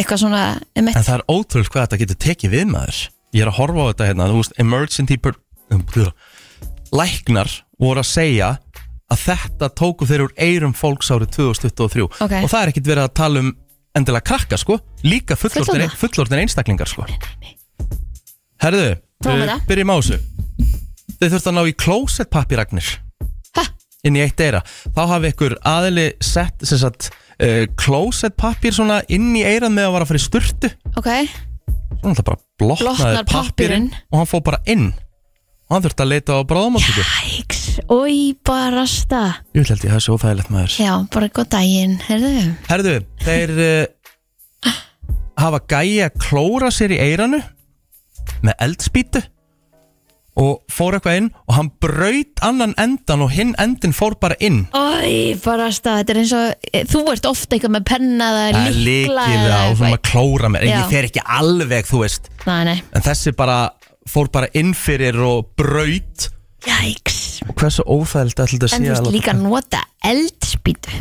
B: eitthvað svona um
A: en það er ótrúlega hvað þetta getur tekið við maður Ég er að horfa á þetta hérna, þú veist, emergency per, um, blöð. Læknar voru að segja að þetta tóku þeir úr eirum fólks árið 2023
B: Ok.
A: Og það er ekkit verið að tala um endilega krakka, sko Líka fullorðin,
B: Fullorðna?
A: fullorðin einstaklingar, sko Herðu,
B: Prófum
A: uh,
B: þetta.
A: byrjum á þessu Þau þurft að ná í klósettpapiragnir
B: Ha?
A: inn í eitt eira Þá hafi ykkur aðili sett sem sagt, uh, klósettpapir svona inn í eirað með að vara að fara í sturtu
B: Ok,
A: Svo náttúrulega bara blotnaði
B: Blotnar
A: pappirinn
B: pappírinn.
A: og hann fór bara inn og hann þurfti að leita á bráðamáttöku
B: æks, oi, barasta.
A: Ég vil held ég að það sé óþægilegt maður
B: Já, bara góð daginn, herðu.
A: Herðu, þeir uh, hafa gæja klóra sér í eiranu með eldspýtu og fór eitthvað inn og hann braut annan endan og hinn endin fór bara inn
B: Oi, barasta, þetta er eins og, e, þú ert ofta eitthvað með penna eða
A: Það er
B: líkla
A: líkið
B: eða
A: á, þú maður klóra mér en
B: Já.
A: ég fer ekki alveg, þú veist
B: Nei, nei,
A: en þessi bara fór bara inn fyrir og braut
B: jæks.
A: og hversu óþægild ætla þetta að
B: En þú
A: sé
B: veist
A: að
B: líka að nota eldspýtu.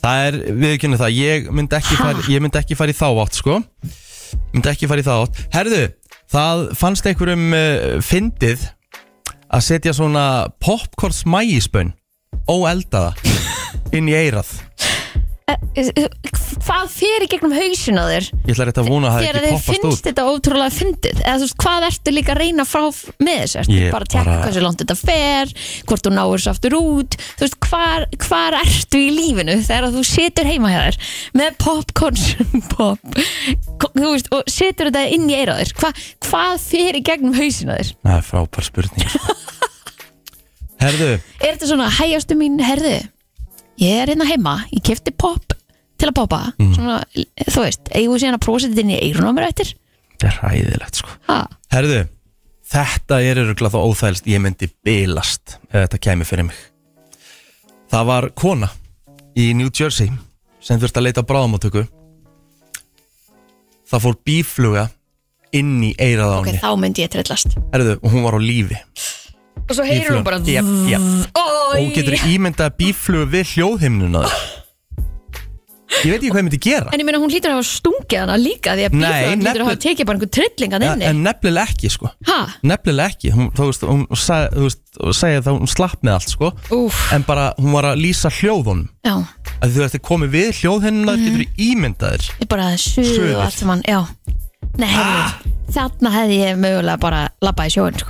A: það er, við kynna það, ég myndi ekki
B: Ha?
A: fara ég myndi ekki fara í þá átt, sko myndi ekki fara í þá átt, herðu það fannst einhverjum uh, fyndið að setja svona popcorns mægispönn óeldaða inn í eirað
B: Eh, hvað fyrir gegnum hausin á þér
A: ég ætla rétt að vona að það
B: þegar
A: hafi
B: þið
A: ekki poppast
B: finnst
A: út
B: þetta ótrúlega fyndið eða þú veist, hvað ertu líka að reyna frá f- með þessu, ertu
A: Ég
B: bara að tekka
A: bara-
B: hversu langt þetta fer hvort þú náir þessu aftur út þú veist, hvar, hvar ertu í lífinu þegar þú situr heima hjá þér með popcorns pop, ko- þú veist, og situr þetta inn í eira þér, Hva, hvað fyrir gegnum hausin á þér,
A: það er frábær spurning sko. herðu,
B: er þetta svona hægjastu mín herðu, ég er hérna heima ég kefti pop til að poppa
A: Mhm.
B: svona, þú veist, eigum við síðan að prósa þetta inn í eirun á mér eftir
A: þetta er ræðilegt sko
B: ha.
A: herðu, þetta er öruglega þá óþægilegst ég myndi bilast ef þetta kæmi fyrir mig það var kona í New Jersey sem þurfti að leita á bráðamáttöku það fór bífluga inn í eirað á
B: Ok,
A: henni
B: þá myndi ég trillast
A: herðu, og hún var á lífi
B: Og svo heyrir hún bara
A: Bíflugan. Jep, jep. og hún getur
B: Oj.
A: ímyndað að bífluga við hljóðhimnuna þér. ég veit ekki hvað ég myndi gera
B: En ég meina hún hlýtur að hafa stungið hana líka Því að
A: Nei,
B: bíflaðan hlýtur að
A: nefnilega-
B: hafa tekið bara einhver trillingan
A: en,
B: inni
A: en nefnilega ekki sko
B: Ha,
A: nefnilega ekki, hún, þú veist, hún sagði, þú veist, sagði það, hún slapp með allt sko
B: úf
A: en bara hún var að lýsa hljóðunum
B: Já,
A: að þú ert að komi við hljóðhennina
B: Mhm.
A: mm. getur ímyndaðir
B: ég bara suðu
A: Suðið.
B: og allt saman Já, nei, ah. þarna hefði ég mögulega bara labbað í sjóin sko.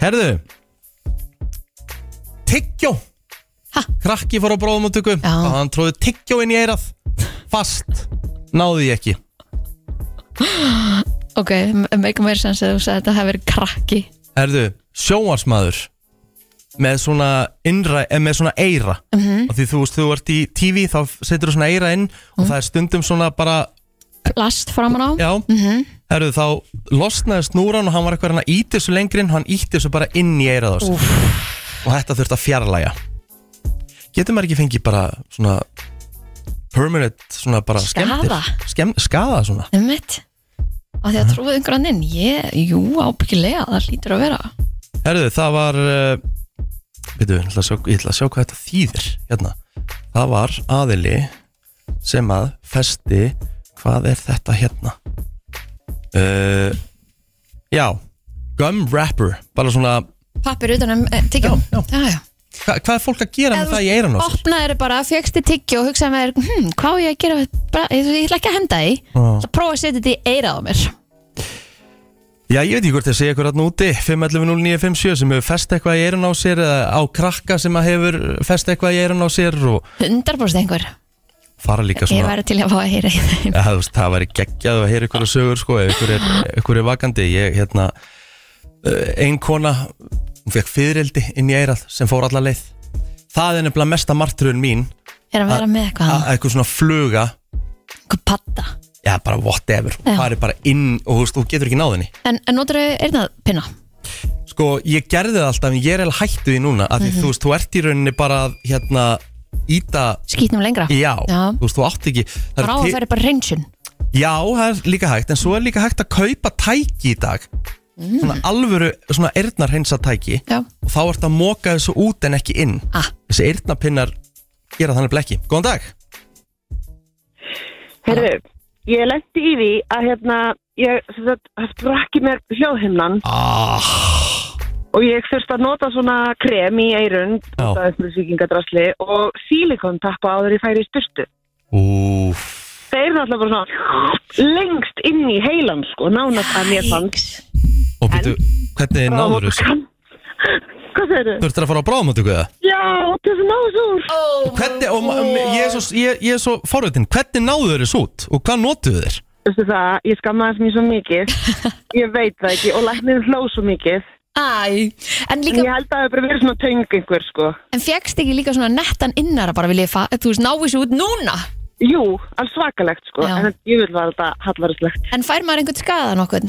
A: herðu tyggjó
B: Ha?
A: krakki fór á bróðumáttöku
B: Já.
A: og hann tróði tyggjó inn í eirað fast, náði ég ekki
B: Ok, make more sense að þú sagði að þetta hefði verið krakki
A: herðu, sjóarsmaður með svona innra, eh, með svona eira -hmm.
B: Mhm.
A: og því þú veist, þú ert í TV þá setur þú svona eira inn og
B: Mhm.
A: það er stundum svona bara
B: Plast framan á
A: Já, mm herru þá losnaði snúran og hann var eitthvað hann að íti þessu lengri en hann íti þessu bara inn í eirað á sig og þetta þurfti að fjarlæga Getur maður ekki fengið bara svona permanent svona bara
B: Skaða.
A: skemmtir Skemm, Skaða svona
B: Ummitt Af því að trúið einhverjan inn Ég, jú, ábyggilega, það hlýtur að vera
A: Herru það var uh, veitum við, ég ætla, að sjá, ég ætla að sjá hvað þetta þýðir hérna. Það var aðili sem að festi hvað er þetta hérna uh, Já Gum wrapper, bara svona
B: Pappir utan um eh, tyggjum
A: Já,
B: já, já.
A: Hva, hvað er fólk að gera með það í eiran á sér?
B: opnaði þér bara, fegst þið tyggju og hugsaði með þér, hm, hvað á ég að gera við- bara, ég, ég ætla ekki að henda því
A: Já.
B: það prófa að setja þetta í eirað á mér
A: Já, ég veit ekki hvort ég segja ykkur hann úti 511-0957 sem hefur fest eitthvað í eiran á sér eða á krakka sem að hefur fest eitthvað í eiran á sér og
B: 100% einhver,
A: fara líka
B: ég
A: svona
B: væri til að fá að heyra í þeim
A: ja, þú veist, Það væri geggjað að heyra ykkur að sögur sko, ef ykkur er, ykkur er vakandi ég, hérna, eh, ein kona hún fekk fyririldi inn í eirað sem fór alla leið það er nefnilega mesta martröðun mín
B: er
A: Ah,
B: að vera með eitthvað,
A: að eitthvað svona fluga
B: eitthvað patta
A: já, bara whatever,
B: Já.
A: hún fari bara inn og þú veist, þú getur ekki náðinni
B: en, en notur þau eirnað pinna
A: Sko, ég gerði það alltaf en ég er alveg hættu því núna af því þú veist, þú ert í rauninni bara að hérna, íta
B: skýtnum lengra
A: Já,
B: Já.
A: þú veist, þú átt ekki það er
B: bara á að
A: til-
B: færa bara reynsun
A: Já, það er líka hægt, en svo er líka hægt að kaupa tæki í dag Svona alvöru, svona eyrnarheinsa tæki
B: Já.
A: Og þá ert að móka þessu út en ekki inn
B: Ah.
A: Þessi eyrnapinnar gera þannig blekki Góðan dag
D: Herru, ég lendi í því að hérna, ég sem sagt, frakki mér hljóðhimnan
A: ah.
D: og ég þurfti að nota svona krem í eirun
A: Já.
D: út af þessu sýkingadrasli og sílikon tappa áður ég færi í styrtu.
A: Úf
D: Þeir eru náttúrulega bara svona lengst inn í heilan sko, nánast að mér fannst.
A: Og býtu, hvernig náður þessu?
D: Hvað þeir eru?
A: Þú ert að fara á bráðamöndingu eða?
D: Já, til þessu náður úr.
A: Og Hvernig, og ma- ég er svo, ég, ég er svo forvitin Hvernig náðu þeir þessu út og hvað notuðu þeir?
D: Veistu það, ég skammaðist mér svo mikið. Ég veit það ekki og læknir hló svo mikið.
B: Æ, en
D: En
B: líka,
D: ég held að það hefur bara verið svona töng einhver sko.
B: en fegst ekki líka svona nettan innara bara vil ég fa, þú veist, ná þessu út núna
D: Jú, alls svakalegt sko,
B: Já.
D: en ég vil var þetta hallarslegt.
B: en fær maður einhvern skaða nokkuð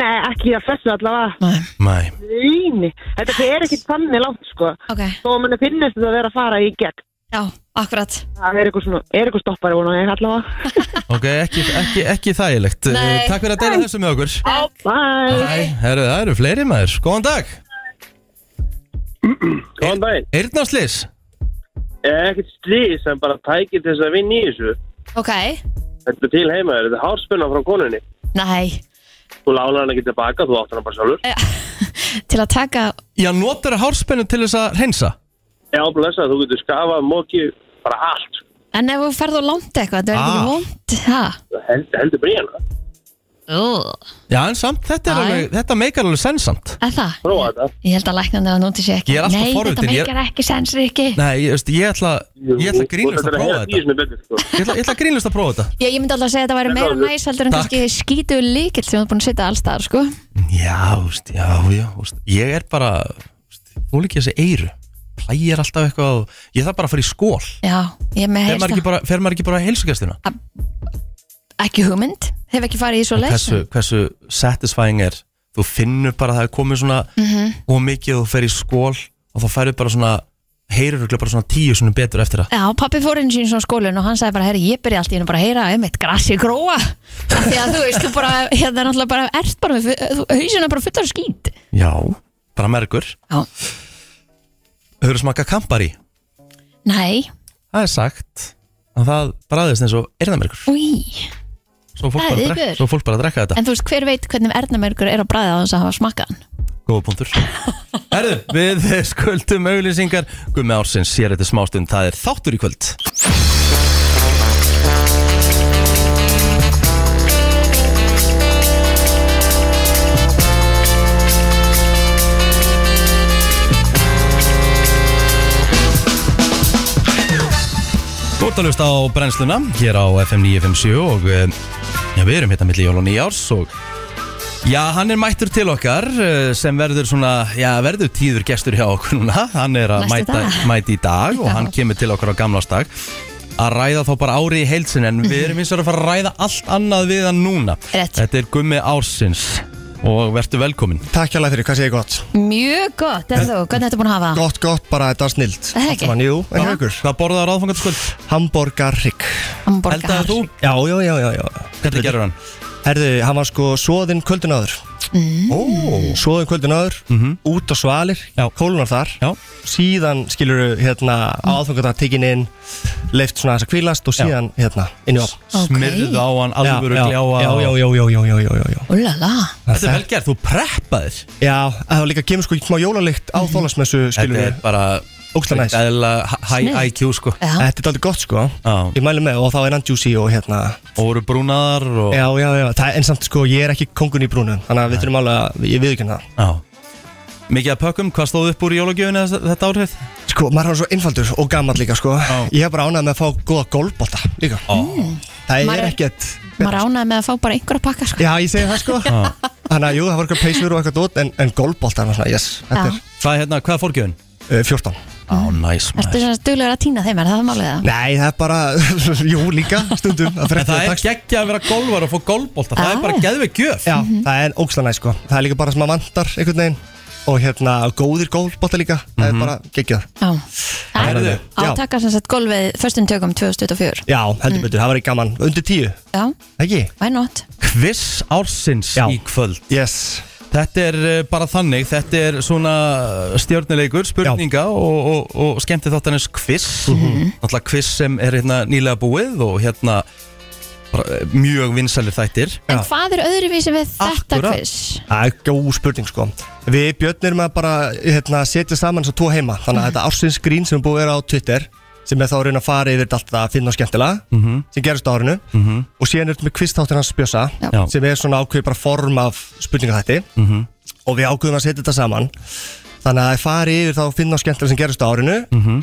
D: Nei, ekki að þessu allavega.
B: Nei,
A: Nei
D: Neini, þetta fer ekkit þannig langt sko.
B: ok,
D: Þó að manni finnist þetta að vera að fara í gegn.
B: já, akkurat
D: Það er eitthvað svona, er eitthvað stoppari vona ég allavega.
A: Ok, ekki, ekki, ekki þægilegt Eh,
B: Nei.
A: Takk fyrir að deila þessu með okkur
D: Bye!
A: Æ, herru, það eru fleiri maður Góðan dag
C: Góðan daginn.
A: Eyrnarslis
C: Ég ekkert slið sem bara tækir til þess að vinna í þessu.
B: ok,
C: Þetta er til heima, þetta er hárspunna frá konunni.
B: nei
C: Þú lánar hann ekki tilbaka, þú átt hann bara sjálfur.
B: Eh, til að taka
A: Já, notur það hárspennu til þess að reynsa
C: Já, blessa, þú getur skafað, mókið, bara allt.
B: en ef þú ferð og langt eitthvað, það er
A: Ah.
B: ekki vond ha,
C: Held, heldur bríðana.
B: Ugh.
A: Já, en samt, þetta, er
B: Æ.
A: alveg, þetta meikar alveg sennsamt
B: er það?
C: Prófa þetta.
B: Ég held að læknan það núti sér ekki
A: Ég er alltaf
B: Nei,
A: forvitin, ég-
B: þetta meikar ekki sens, Rikki
A: Nei, ég, veist, ég ætla, ég ætla að grínlust að prófa þetta
C: Þetta er að heyra tíu sinni betur, sko.
A: Ég ætla, ég ætla að grínlust að prófa þetta
B: Ég, ég myndi alltaf að segja að þetta væri meira næs heldur en
A: Takk.
B: kannski skítu líkil sem þú er búin að setja allstaðar sko.
A: Já, úst, já, já úst, Ég er bara úst, Þú líka þessi eyru Plægir alltaf eitthvað og, Ég þarf bara að fara í skól
B: Já,
A: Fer
B: ég er með
A: maður
B: heilsta
A: ekki bara, fer maður ekki bara að heilsugjastina
B: ekki hugmynd, hef ekki farið í svo leys
A: hversu, hversu satisfying er Þú finnur bara að það er komið svona
B: Mhm.
A: Og mikið og þú fer í skól Og þá færðu bara svona Heyrur örugglega bara svona tíu svona betur eftir það
B: Já, pappi fór inn sín svona skólinn og hann sagði bara, herri, ég byrja allt í hennu bara að heyra um eitt grassi gróa Af því að þú veist, þú bara, hérna er náttúrulega bara ert bara með, fu- þú- hausinn er bara fullar af skít
A: Já, bara mergur
B: Já,
A: Hefur smakað kampari
B: nei,
A: Það er sagt að það bræðist eins og erðamerkur
B: úi
A: Svo fólk bara
B: Það er
A: að drekka,
B: viðbjör.
A: svo fólk bara að drekka þetta
B: En þú veist, hver veit hvernig erðnamerkur er á bræða á þess að hafa smakkað hann
A: Góða punktur Herðu, við skuldum auglýsingar Gummi Ársins, sér þetta smástund Það er þáttur í kvöld Þú ert að hlusta á brennsluna hér á FM 957 og eh, já, við erum hérna milli jól og nýjárs og já, hann er mættur til okkar eh, sem verður svona, já, verður tíður gestur hjá okkur núna, hann er að
B: Næstu
A: mæta,
B: daga.
A: mæta í dag og
B: Já.
A: hann kemur til okkar á gamlásdag að ræða þá bara ári í heilsin en við erum eins og að fara að ræða allt annað við hann núna
B: Rétt.
A: Þetta er Gummi Ársins og verður velkomin
E: Takk hjá fyrir, hvað segir gott?
B: Mjög gott, en þú, hvernig ertu búin að hafa það?
E: Gott, gott, bara þetta er snild
B: Það er ekki.
E: Jú, en hjá ykkur
A: Hvað borðaður aðfangatasköld?
E: Hamborgarrygg
B: Hamborgar
A: Eldaði þú?
E: Já, já, já, já, já
A: Hvernig gerur hann?
E: Herðu, hann var sko svoðinn kvöldin áður mm. Svoðinn kvöldin áður Út á svalir,
A: Mhm. Já.
E: kólunar þar
A: Já,
E: Síðan skilur hérna mm. áþungat inn Leift svona þess að kvílast og
A: Já.
E: síðan hérna inn í opn
B: Ok.
A: smyrðu á hann alvöru
E: já,
A: gljáa
E: já, já, já, já, já, já, já, já.
B: Úlala,
A: Þetta er vel gert, þú preppaðir
E: Já, það var líka kemur sko smá jólalykt á mm. þólasmessu skilur
A: Mhm. Þetta er bara
E: Ógeðslega næs.
A: Eðla high
B: Sniðugt.
A: IQ sko
B: já,
E: Þetta er aldrei gott sko
A: Já.
E: Ég mæli með og þá er hann juicy og hérna
A: Og voru brúnaðar og
E: Já, já, já, það, en samt sko, ég er ekki kongun í brúnu Þannig að við þurfum alveg að, ég viðkynna það
A: Já. Mikið að pökkum, hvað stóð upp úr jólagjöfinu þess- þetta árið?
E: Sko, maður er svo einfaldur og gammal líka, sko Ég er bara ánægð með að fá góða golfbolta líka Það
B: Mm. Maður
E: er
B: er-
E: ekkert
B: maður ránaði með að fá bara einhverja pakka sko.
E: Já, ég segi það sko Þannig að jú, það voru eitthvað peysur og eitthvað dót En, en golfbolta er svona, yes, þetta
B: Já.
E: er
A: Hvað er hérna, hvað er fórgjöfin?
E: uh, 14
A: Á, næs
B: Ertu
A: maður
B: svona duglegur að týna þeim, er það málið það?
E: Nei, það er bara, jú, líka stundum Það
A: En
E: fer eftir
A: það er
E: dags-
A: geggja að vera golvar og fá golbólta Það er
B: Já.
A: bara geðveik gjöf
B: Mhm.
E: Já, það er ógstlega næ, sko Það er líka bara sem að vantar einhvern veginn og hérna góðir gólbóta líka það er bara geggjað
B: Já.
E: Herðu, já.
B: Átaka sem sagt golfið föstum tökum 2024
E: Já, heldur betur, það var ekki gaman undir tíu,
B: Já,
E: ekki?
B: why not?
A: Kviss ársins
E: Já.
A: í kvöld
E: Yes,
A: Þetta er eh, bara þannig, þetta er svona stjórnilegur, spurninga og, og, og skemmti þáttanins kviss Náttúrulega kviss sem er hérna nýlega búið og hérna bara, eh, mjög vinsælir þættir
B: En hvað er öðruvísi við þetta
A: Akkurat.
B: quiz?
E: það er góð spurning sko Við Björn erum að bara hérna, setja saman þess að tvo heima Þannig að þetta ársins grín sem er búið að vera á Twitter sem er þá að reyna að fara yfir allt það að finna og skemmtilega sem gerist á árinu -hmm. og síðan erum við kvistáttir hans Bjösa
B: Já.
E: sem er svona ákveð bara form af spurningahætti -hmm. og við ákveðum að setja þetta saman þannig að það fari yfir þá finna og skemmtilega sem gerist á árinu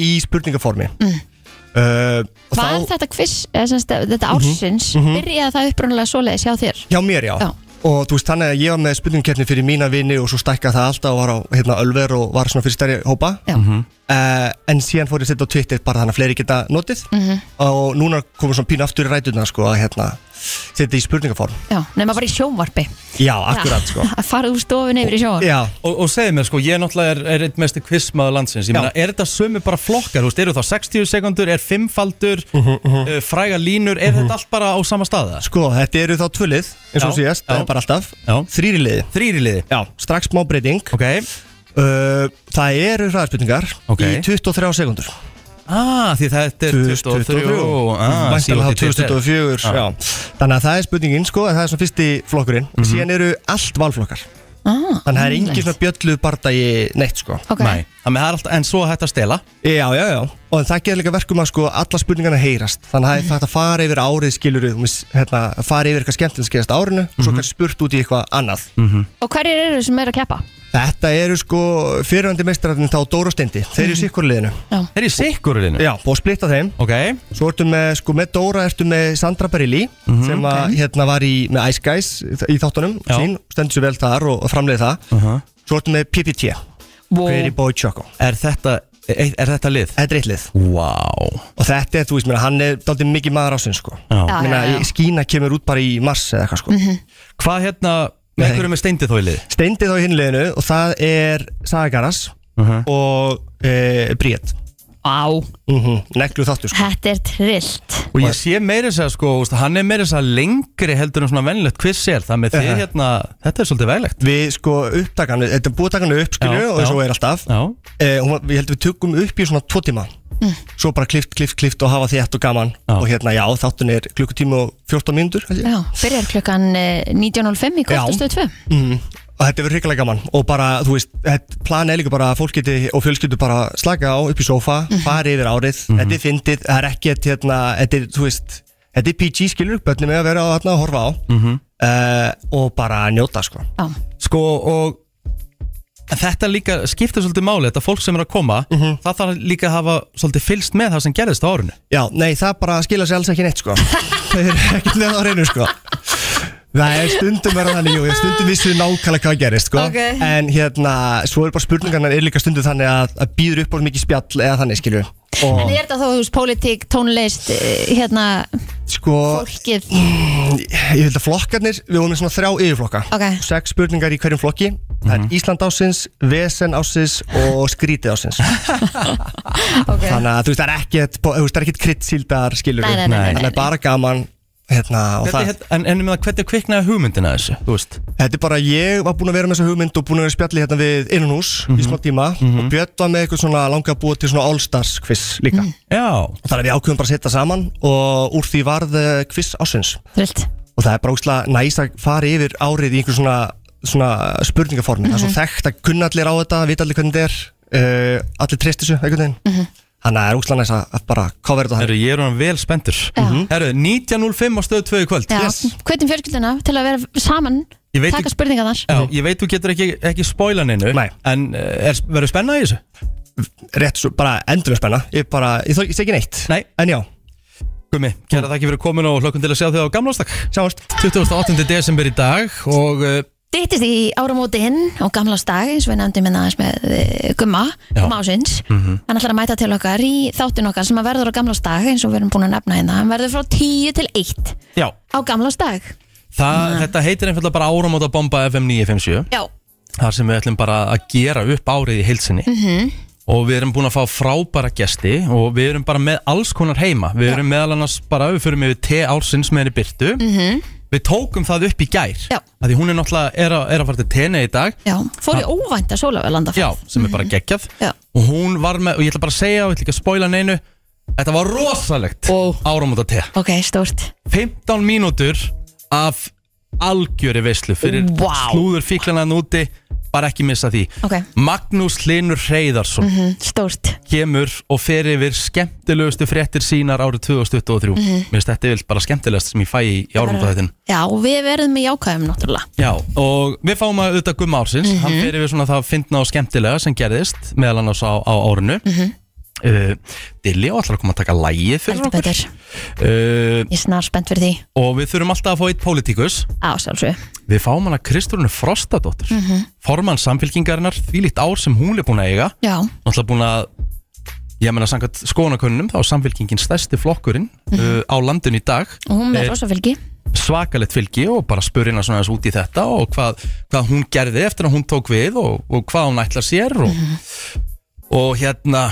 E: í spurningaformi mm. uh, og
B: Var
E: þá- Mhm,
B: þetta quiz, eða sem sagt, þetta ársins, byrjaði það upprunalega svoleiðis hjá þér?
E: Hjá mér, já.
B: Já.
E: Og þú veist, þannig að ég var með spurningkeppni fyrir mína vini og svo stækkaði það alltaf og var á hérna, Ölver og var svona fyrir stærri hópa.
B: Já. Mhm.
E: Eh, en síðan fór ég að setja á Twitter bara þannig að fleiri geta notið. -hmm. Og núna komum svona pínu aftur í rætuna, sko, að hérna, setja í spurningaform.
B: Já, nema bara í sjónvarpi
E: Já, akkurat,
B: Já,
E: sko.
B: Að fara úr stofinu yfir í sjónvarpi
E: Já,
A: Og, og segið mér sko, ég náttúrulega er, er eitt mestu kvissmaður landsins Ég
E: Já.
A: meina, er þetta sömu bara flokkar, þú veist, eru þá 60 sekundur, er fimmfaldur, uh, fræga línur, er þetta allt bara á sama staða?
E: sko, þetta eru þá tvölið, eins og
A: Já,
E: síðast,
A: já.
E: það er bara alltaf.
A: Já.
E: Þrýri liði.
A: Þrýri liði
E: Já, strax smá breyting.
A: Ok,
E: Uh, það eru hraðarspurningar
A: Ok.
E: í 23 sekundur.
A: ah, því þetta er 23 ah,
E: Væntanlega þá
A: 2023.
E: 2024 já. Þannig að það er spurningin sko að Það er svona fyrsti flokkurinn Síðan eru allt valflokkar
B: ah,
E: Þannig að það er engin svona bjöllu bardagi neitt sko
B: Ok,
A: Nei, þannig að það er alltaf, en svo er hægt að stela
E: Já, já, já Og það gerir líka verkum að sko Alla spurningarna heyrast Þannig að það er hægt að fara yfir árið skilur hérna, Fara yfir eitthvað skemmtinn skeiðast á árinu Og svo kannski spurt út í eitthvað annað
B: og hverjir eru sem eru að keppa?
E: Þetta eru sko Fyrirandi meistararnir þá Dóra og Steindi Þeir eru sikkur liðinu
B: Já,
A: Þeir eru í sikkururinu
E: Já, og splitta þeim
A: Ok,
E: Svo ertu með, sko, með Dóra ertu með Sandra Bareilly sem að, hérna var í, með Ice Guys í þáttunum
A: Mhm, Já. Uh-huh.
E: sín, stendur sér vel þar og framleiði það Svo ertu með PPT,
B: Vó.
E: Pretty Boy Choco
A: er þetta, er, er þetta lið?
E: Þetta er eitt lið
A: Vá wow.
E: og þetta er, þú veist, mér, hann er daldið mikið maður ásinn, sko
B: Já,
E: Meina,
B: já, Mhm. já.
E: Skína kemur út bara í mars eða eitthvað, sko
A: Hvað hérna,
E: Nei.
A: með einhverju með steindi þó í lið?
E: Steindi þá í hinn liðinu og það er Saga Garas
A: Uh-huh.
E: og e, Bríett
B: Á,
E: mm Neglu þáttur, sko
B: þetta er trillt
A: Og ég sé meira þess að sko, þú veist, hann er meira þess að lengri heldur en svona vennilegt kviss er Það með þið
E: Uh-huh.
A: hérna, þetta er svolítið veglegt
E: Við, sko, upptakan, þetta er búið takan upp, skilju,
A: Já,
E: og
A: já.
E: svo er alltaf
A: Já,
E: eh, hún, var- við heldum við tökum upp í svona tvo tíma svo bara klift, klift, klift og hafa þétt og gaman
A: Já.
E: og hérna já, þáttun er klukkutími og 14 mínútur held ég.
B: Já, byrjar klukkan eh, 19.05 í
E: Já.
B: kvöldstöð 2
E: mm. og þetta verður hrikalega gaman og bara, þú veist, þetta plan er líka bara að fólk geti og fjölskyldu bara slaka á upp í sofa fari yfir árið, þetta er fyndið það er ekki að, hérna, þetta er, þú veist þetta er PG skilur, börnum er að vera á þarna að horfa á mm og bara njóta sko
B: Já,
A: sko og en þetta líka skiptir svolítið máli Þetta fólk sem er að koma, það þarf líka að hafa svolítið fylst með það sem gerðist á árinu
E: Já, nei, það bara skilja sér alls ekki neitt sko Það er ekkert með á reynu sko Það er stundum verða þannig, jú, stundum vissum við nákvæmlega hvað gerist sko
B: Ok.
E: En hérna, svo er bara spurningarnar er líka stundum þannig að, að býður upp á mikið spjall eða þannig skilju Og
B: en er þetta þá, þú veist, pólitík, tónlist eh, hérna,
E: sko,
B: fólkið
E: ég held að flokkarnir, við vorum með svona þrjá yfirflokka
B: Ok.
E: Sex spurningar í hverjum flokki Það er Ísland ásins, Vesen ásins og Skrítið ásins
B: Ok,
E: Þannig að þú veist, það er ekkert, þú veist, það er ekkert kryddsíldar skilur
B: Nei, nei, nei, nei, nei,
E: Þannig að bara gaman Hérna, og það-
A: Hvernig, hérna- en, en með það, hvernig kviknaði hugmyndina að þessu, þú veist?
E: Þetta er bara, ég var búin að vera með þessa hugmynd og búin að vera í spjalli hérna við innanhús í
A: Mhm.
E: smá tíma og Björn var með eitthvað svona langa að búa til svona All-Stars quiz líka.
A: Mhm. Já,
E: Og þannig að við ákveðum bara að setja saman og úr því varð eh, quiz ásins.
B: trillt
E: Og það er bara úkslega næst að fara yfir árið í einhver svona, svona spurningaformi. Það
A: Mhm.
E: er svo þekkt að kunna allir á þetta, vita allir hvernig þetta er, uh, allir treyst þessu einhvern veginn. Þannig að það er úkslega næst að að bara cover þetta þannig.
A: Herru, ég Mhm. er hann vel spenntur Mhm. Herru, 19.05 á stöðu 2 í kvöld
B: Já, hvernig fjölskyldina til að vera saman
A: Ég veit
B: taka
A: ekki-
B: spurningar þar
A: Já, ég veit þú getur ekki, ekki spoilan innu
E: Nei.
A: En eh, er, verður spennað í þessu?
E: Rétt svo, bara endur við spenna. Ég bara, ég, þó- ég sé ekki neitt.
A: Nei.
E: En já,
A: Gumi, kæra þakki fyrir komin og hlökkum til að sjá þig á gamlástak
E: sjáumst.
A: 28. desember í dag og uh,
B: Dittist í áramótin og gamlástag eins og við nefndum minna aðeins með eh, Gumma, Gumma ásins
E: Mhm.
B: hann ætlar að mæta til okkar í þáttin okkar sem að verður á gamlástag eins og við erum búin að nefna hérna hann verður frá 10 til 1
A: já,
B: á gamlástag
A: það, þetta heitir einfallega bara áramóta bomba FM 957
B: Já,
A: þar sem við ætlum bara að gera upp árið í heilsinni
B: Mhm.
A: og við erum búin að fá frábæra gesti og við erum bara með alls konar heima við erum meðal annars bara, við förum yfir te ársins með henni Byrtu -hmm. við tókum það upp í gær
B: Mhm. Já.
A: að því hún er náttúrulega er að, er að fara til tene í dag
B: Já, fór í óvænta sólavelanda
A: Já, sem er bara geggjað
B: Mhm. Já.
A: og hún var með, og ég ætla bara að segja og ég ætla ekki að spoila neinu þetta var rosalegt
B: Ó.
A: áramóta te
B: Ok, stórt
A: 15 mínútur af algjöri veislu fyrir
B: Vá.
A: slúður fíklanan úti bara ekki missa því
B: Ok.
A: Magnús Linur Reyðarsson
B: mm, Stórt
A: kemur og fer yfir skemmtilegustu fréttir sínar árið 2023
B: Mhm.
A: mér finnst þetta vilt bara skemmtilegast sem ég fæ í, í áramóta þetta
B: Já, og við verðum í jákvæðum náttúrulega
A: Já, og við fáum að auðvitað gumma ársins
B: Mhm.
A: Hann fyrir við svona það að finna á skemmtilega sem gerðist meðal annars á, á árinu mm -hmm. Dilli á allar að koma að taka lægið fyrir
B: Mhm. Heldur
A: okkur
B: betur,
A: uh,
B: ég er snar spennt fyrir því
A: Og við þurfum alltaf að fá eitt pólitíkus
B: Á, sjálfsög
A: Við fáum hana Kristúrunu Frostadóttur Formann samfélkingarinnar, því líkt ár sem hún er búin að eiga
B: Já,
A: Náttúrulega búin að, ég meina samkvæmt skoðanakönnum Þá er samfélkingin stærsti flokkurinn
B: Mhm.
A: uh, á landinu í dag
B: og hún
A: Eh,
B: með rosafylgi
A: svakalett fylgi og bara spurði hennar svona aðeins út í þetta og hvað, hvað hún gerði eftir að hún tók við og, og hvað hún ætlar sér og,
B: Mhm.
A: og hérna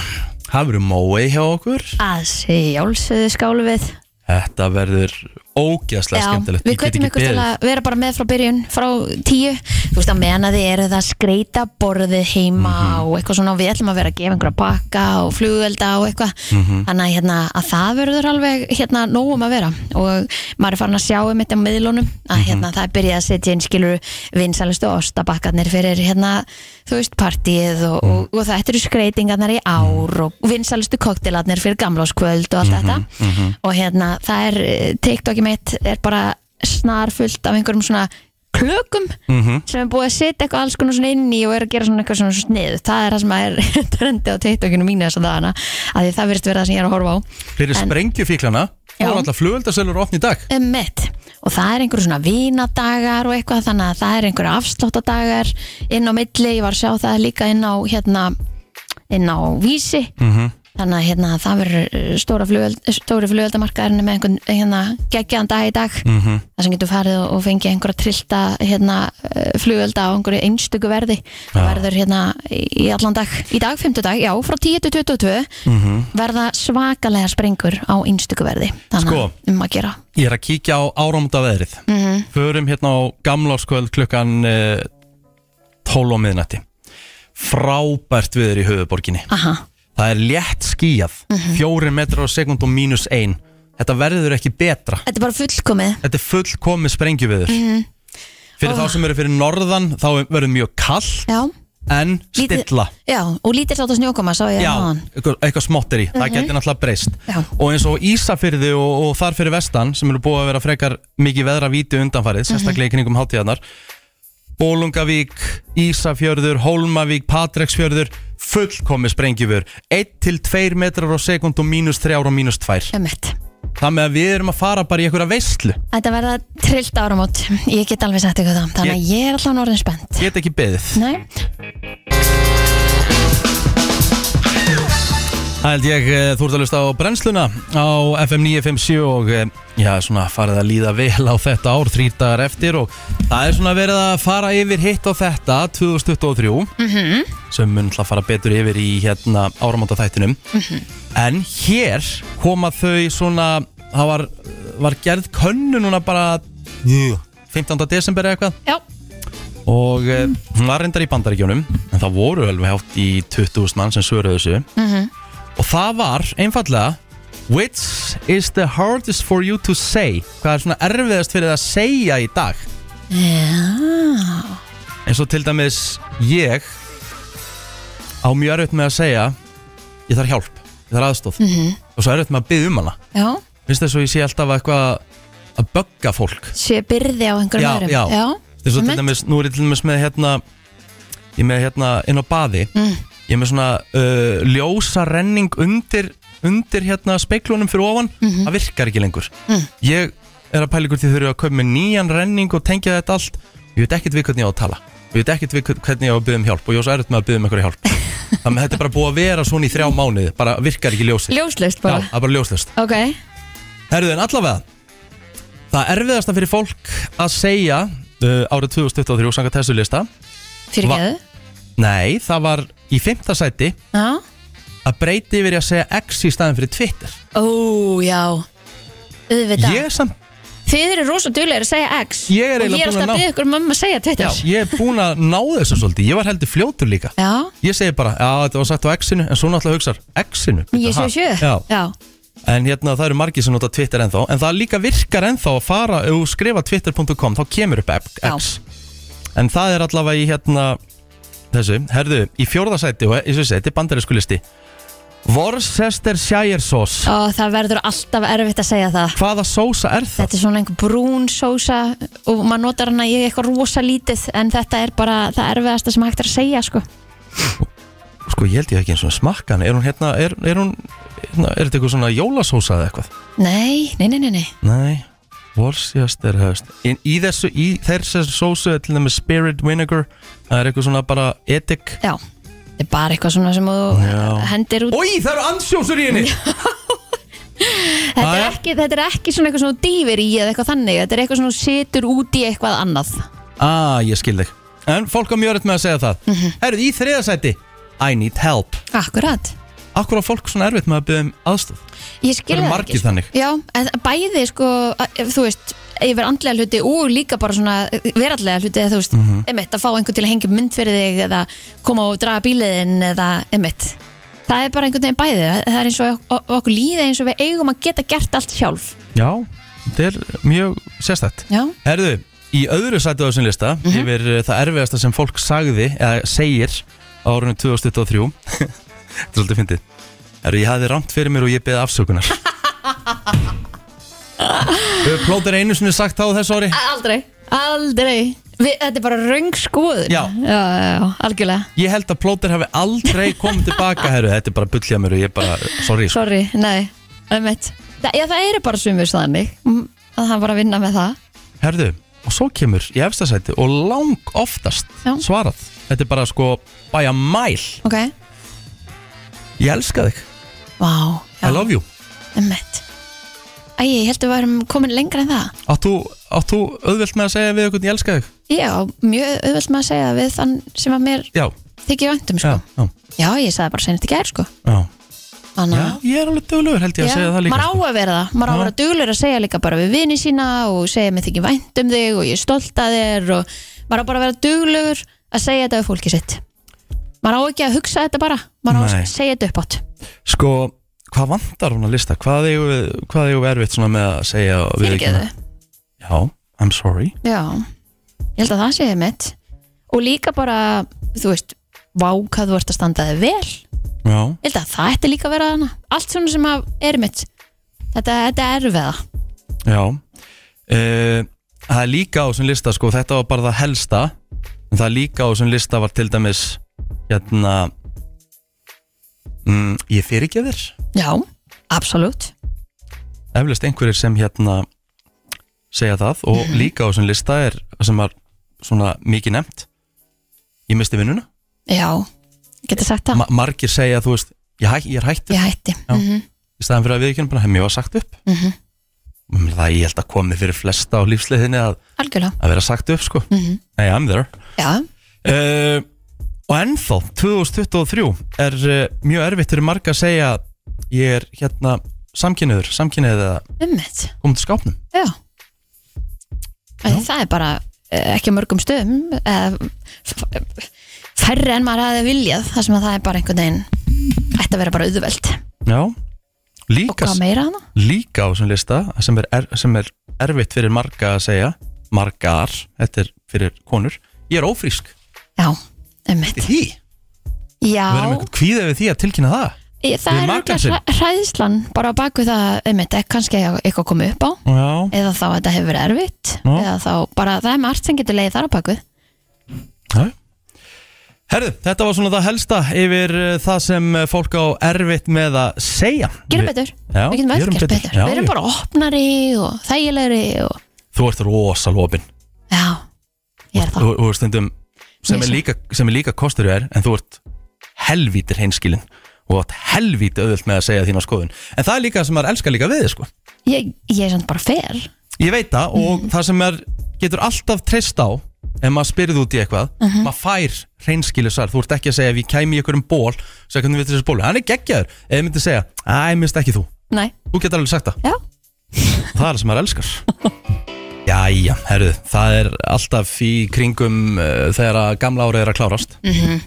A: það verður mói hjá okkur
B: Að sjálfsögðu skálu við
A: þetta verður ógeðslega skemmtilegt
B: við
A: Ég get
B: kveitum
A: ekki
B: ykkur til
A: beðið.
B: að vera bara með frá byrjun frá tíu, þú veist að meðan að þið eru það skreita borðið heima og eitthvað svona, við ætlum að vera að gefa einhverja pakka og flugvelda og eitthvað þannig að, hérna, að það verður alveg hérna nógum að vera og maður er farin að sjá um þetta á miðlunum að hérna það er byrjað að setja inn skilur vinsalistu ostabakkarnir fyrir hérna, þú veist, partíið og, og, og þetta eru skreitingarnar í ár og vinsalistu koktelarnir fyrir gamláskvöld og allt þetta og hérna það er eh, TikTokið mitt er bara snarfullt af einhverjum svona klökum sem er búið að setja eitthvað alls konar svona inn í og er að gera svona eitthvað svona snið það er það sem er trendi á TikTokinu mínu þess að dagana að því það virðist vera það sem ég er að horfa á
A: fyrir sprengjufíklana þá
B: Já.
A: er alltaf flugöldasölur opn í dag
B: um og það er einhverjum svona vínadagar og eitthvað þannig að það er einhverjum afsláttadagar inn á milli, ég var að sjá það líka inn á hérna, inn á vísi -hmm. þannig að hérna, það verður uh, stóra flugöld, stóri flugöldamarkaðurinn með einhvern hérna, geggjaðan dag í dag -hmm. það sem getur farið og- og fengið einhverja trillta hérna, uh, flugölda á einhverju einstöku verði það verður hérna í allan dag í dag, fimmtudag, já, frá 10 til 22 -hmm. verða svakalega sprengur á einstöku verði þannig
A: Sko.
B: að um að gera
A: ég er að kíkja á áramóta veðrið förum hérna á gamláskvöld klukkan uh, 12 á miðnætti frábært viður í höfuborginni
B: Aha,
A: Það er létt skíjað mm -hmm. 4 metrar á sekund og mínus 1 Þetta verður ekki betra
B: þetta er bara fullkomið
A: Þetta er fullkomið sprengjuviður Fyrir þá sem eru fyrir norðan þá verður mjög kall
B: Já,
A: en stilla
B: já og lítið sátt að snjókoma sá ég hérna
A: Já,
B: hann
A: eitthvað, eitthvað smottir í, það getur náttúrulega breyst
B: Já.
A: Og eins og Ísafyrði og, og þar fyrir vestan sem eru búið að vera frekar mikið veðra víti undanfarið, sérstaklega í kringum hátíðarnar Bólungavík, Ísafjörður, Hólmavík, Patreksfjörður fullkomi sprengjufur 1-2 metrar á sekund og mínus 3 ára og mínus 2
B: Ömmett
A: Það með að við erum að fara bara í einhverja veistlu
B: Þetta verða trillt áramót, ég get alveg sagt ykkur það Þannig að ég er allan orðin spennt
A: Get ekki beðið
B: Nei,
A: Það held ég, eh, þú ert að lusta á brennsluna á FM 957 og eh, já, svona farið að líða vel á þetta ár, þrýr dagar eftir og það er svona verið að fara yfir hitt á þetta 2023 sem mun alltaf fara betur yfir í hérna áramóta þættinum en hér koma þau svona, það var, var gerð könnu núna bara jú, 15. desember eða eitthvað
B: já,
A: og eh, hún var reyndar í bandaríkjónum en það voru alveg hátt í 20.000 mann sem svöruðu þessu og það var einfallega Which is the hardest for you to say Hvað er svona erfiðast fyrir það að segja í dag eins og til dæmis ég á mjög erfitt með að segja ég þarf hjálp, ég þarf aðstóð og svo erfitt með að byggja um hana
B: já
A: finnst þess að ég sé alltaf eitthvað að bögga fólk
B: Sé byrði á einhverjum
A: Já,
B: öðrum
A: já. Þess að til
B: einmitt.
A: dæmis, nú er ég til dæmis með hérna Ég er með hérna inn á baði
B: Mm.
A: Ég er með svona uh, ljósa renning undir, undir hérna speiklunum fyrir ofan
B: Mhm.
A: Það virkar ekki lengur
B: Mm.
A: Ég er að pæla ykkur því þau eru að köpa með nýjan renning og tengja þetta allt Ég veit ekkert við hvernig ég á að tala Ég veit ekkert við hvern- hvernig ég á að byggja um hjálp og ég á svo erut með að byggja um einhverja hjálp Þannig að þetta er bara búið að vera svona í þrjá mánuði bara virkar ekki ljósið
B: Ljóslaust
A: Já,
B: bara
A: það er bara ljóslust
B: Ok,
A: Herðu en allavega Það erfiðasta fyrir fólk að segja uh, árið 2023 sanga testulista
B: fyrir geðu
A: Nei, það var í fimmta sæti
B: Já,
A: að breyti yfir í að segja X í staðin fyrir Twitter
B: ó já Auðvitað
A: Ég er samt,
B: Þið eru rosa duglegir að segja X
A: Ég er
B: Og
A: eiginlega
B: ég
A: búin að
B: er alltaf að
A: ná-
B: byggja ykkur mamma að segja
A: já,
B: Twitter
A: ég er búin að ná þessu svolítið Ég var heldur fljótur líka
B: Já,
A: Ég segi bara, já þetta var sagt á X-inu En svo náttúrulega hugsar, X-inu Bíddu,
B: ég sé
A: ha?
B: sjö
A: Já,
B: já.
A: En hérna það eru margir sem nota Twitter ennþá En það líka virkar ennþá að fara Ef þú skrifa twitter.com þá kemur upp X
B: Já.
A: En það er allavega í hérna Þessu, herðu, í fjórðasæti Og eins og þessi, þetta er bandarískulisti Worcestershire sauce
B: Ó, það verður alltaf erfitt að segja það
A: Hvaða sósa er það?
B: Þetta er svona einhver brún sósa og maður notar hana í eitthvað rosa lítið en þetta er bara það erfiðasta sem hægt er að segja sko.
A: Sko ég held ég ekki eins og smakkan Er hún hérna, er, er hún hérna, Er þetta eitthvað svona jólasósa eða eitthvað?
B: Nei, nei, nei, nei, nei.
A: Nei, Worcester hefst í, í þessu, í þessu sósu er Til dæmis spirit vinegar Það er eitthvað svona bara edik
B: Já, þetta er bara eitthvað svona sem þú
A: Já.
B: hendir út
A: Új, það eru ansjósur í henni
B: þetta, er
A: jæja.
B: ekki, þetta er ekki svona eitthvað svona þú dýfir í eða eitthvað þannig Þetta er eitthvað svona þú situr út í eitthvað annað
A: Ah, ég skil þig En fólk á mjög rétt með að segja það mm í þriðasæti I need help
B: Akkurat
A: Akkur á fólk svona erfitt með að byggja um aðstof
B: Ég skil
A: Það eru
B: það
A: margir
B: ekki sko.
A: þannig.
B: Já, en bæði sko, að- þú veist yfir andlega hluti og líka bara svona verallega hluti, eða þú veist,
A: Mhm.
B: emitt að fá einhvern til að hengja upp mynd fyrir þig eða koma og draga bíliðin eða emitt það er bara einhvern veginn bæði það er eins og ok- okkur líði eins og við eigum að geta gert allt sjálf
A: Já, þetta er mjög sérstætt
B: Já,
A: Herðu, í öðru sæti á þessum lista Yfir eh, það erfiðasta sem fólk sagði Eða segir á árunum 2023 Þetta er svolítið fyndið Herðu, ég hafði rámt fyrir mér og ég beði afsökunar Hefur Plóter einu sinni sagt það á þessu ári
B: aldrei, aldrei við, Þetta er bara röng skoðun
A: Já.
B: já, já, já, algjörlega
A: Ég held að Plóter hafi aldrei komið tilbaka Herðu, þetta er bara bullja mér og ég bara Sorry, sko.
B: Sorry, nei, emitt Þa, Já, það eru bara sumur þannig mm, að hann var að vinna með það
A: herðu Og svo kemur í efstasæti og lang oftast
B: Já.
A: svarað Þetta er bara sko bæja mæl
B: Ok,
A: Ég elska þig,
B: vá já.
A: I love you
B: Emmett Æ, ég held að við erum komin lengra en það
A: Átt þú, átt þú auðvelt með að segja við einhvern ég elska þig?
B: Já, mjög auðvelt með að segja við þann sem að mér
A: Já,
B: þykir væntum sko.
A: já, já,
B: já. ég sagði bara senast í gær sko.
A: já.
B: Þannig
A: já
B: að-
A: Ég er alveg dögluður held ég að
B: Já,
A: segja það líka
B: maður á
A: sko.
B: að vera það, maður á að
A: Já.
B: vera duglur að segja líka bara við vini sína og segja mér þykir vænt um þig og ég er stolt að þér og maður á bara að vera duglur að segja þetta við fólkið sitt maður á ekki að hugsa þetta bara maður á
A: Nei.
B: að segja þetta upp átt
A: sko, hvað vantar hún að lista? Hvað eigum við, hvað eigum við erfitt svona með að segja við
B: fyrirgeðu,
A: Já, I'm sorry
B: já ég held að það segja mitt og líka bara, þú veist vá hvað þú ert að standa þig vel
A: Já,
B: Ég held að það ætti líka að vera þarna Allt svona sem að er mitt Þetta, þetta er erfiða
A: já uh, Það er líka á þessum lista sko, þetta var bara það helsta en það er líka á þessum lista var til dæmis hérna mm, Ég fyrir ekki þér
B: Já, absolutt
A: eflust einhverjir sem hérna segja það og líka á þessum lista er sem var svona mikið nefnt ég misti vinnuna
B: Já, getur sagt það
A: Ma margir segja þú veist ég, hæ ég er hættur
B: Ég hætti Mm.
A: Já. í staðan fyrir að viðkjörnum bara hef mér var sagt upp mm -hmm. það ég held að komi fyrir flesta á lífsleiðinni að,
B: Algjörlega
A: að vera sagt upp sko hey I'm there
B: Já,
A: uh, og ennþá 2023 er uh, mjög erfitt fyrir marga að segja ég er hérna samkynniður samkynniðið að
B: um mitt
A: koma til skápnum
B: Já. Já. Það er bara eh, ekki á mörgum stöðum eh, f- f- færri en maður hafði viljað þar sem að það er bara einhvern veginn ætti að vera bara auðveld
A: já
B: og
A: líka
B: hvað meira hana
A: líka á þessum lista sem er, er, sem er erfitt fyrir marga að segja margar, þetta er fyrir konur ég er ófrísk
B: Já, um mitt
A: því,
B: Já,
A: við erum einhvern kvíða við því að tilkynna það
B: Ég- það
A: við
B: er
A: makann
B: örugglega hræ- hræðslan bara á baku það, um mitt, kannski eitthvað komið upp á
A: já,
B: eða þá að þetta hefur verið erfitt
A: Já.
B: eða þá bara það er margt sem getur leiðið þar á baku
A: já Herðu, þetta var svona það helsta yfir eh, það sem eh, fólk á erfitt með að segja
B: gera
A: Við-
B: betur,
A: Já,
B: við getum öll
A: gerum
B: gert
A: betur.
B: betur,
A: Já,
B: við erum
A: já.
B: bara opnari og þægilegri og
A: Þú ert rosalopin
B: já, ég er
A: Þú
B: það
A: þú ert stundum sem er,
B: Mjög svo.
A: líka, sem er líka kostur er en þú ert helvítir hinskilin og átt helvíti auðvöld með að segja þína skoðun en það er líka það sem maður elskar líka við þig, sko
B: ég, ég er samt bara fer Mhm.
A: Ég veit það og það sem er, getur alltaf treyst á ef maður spyrði út í eitthvað
B: Mhm.
A: maður fær reynskilisar, þú ert ekki að segja ef ég kæmi í einhverjum ból, segja hvernig við þessi bólu hann er geggjaður, ef ég myndi segja, æ, minnst ekki þú
B: Nei,
A: þú getur alveg sagt það,
B: já,
A: það er það sem maður elskar Jæja, herru, það er alltaf í kringum uh, þegar að gamla árið er að klárast
B: Mhm.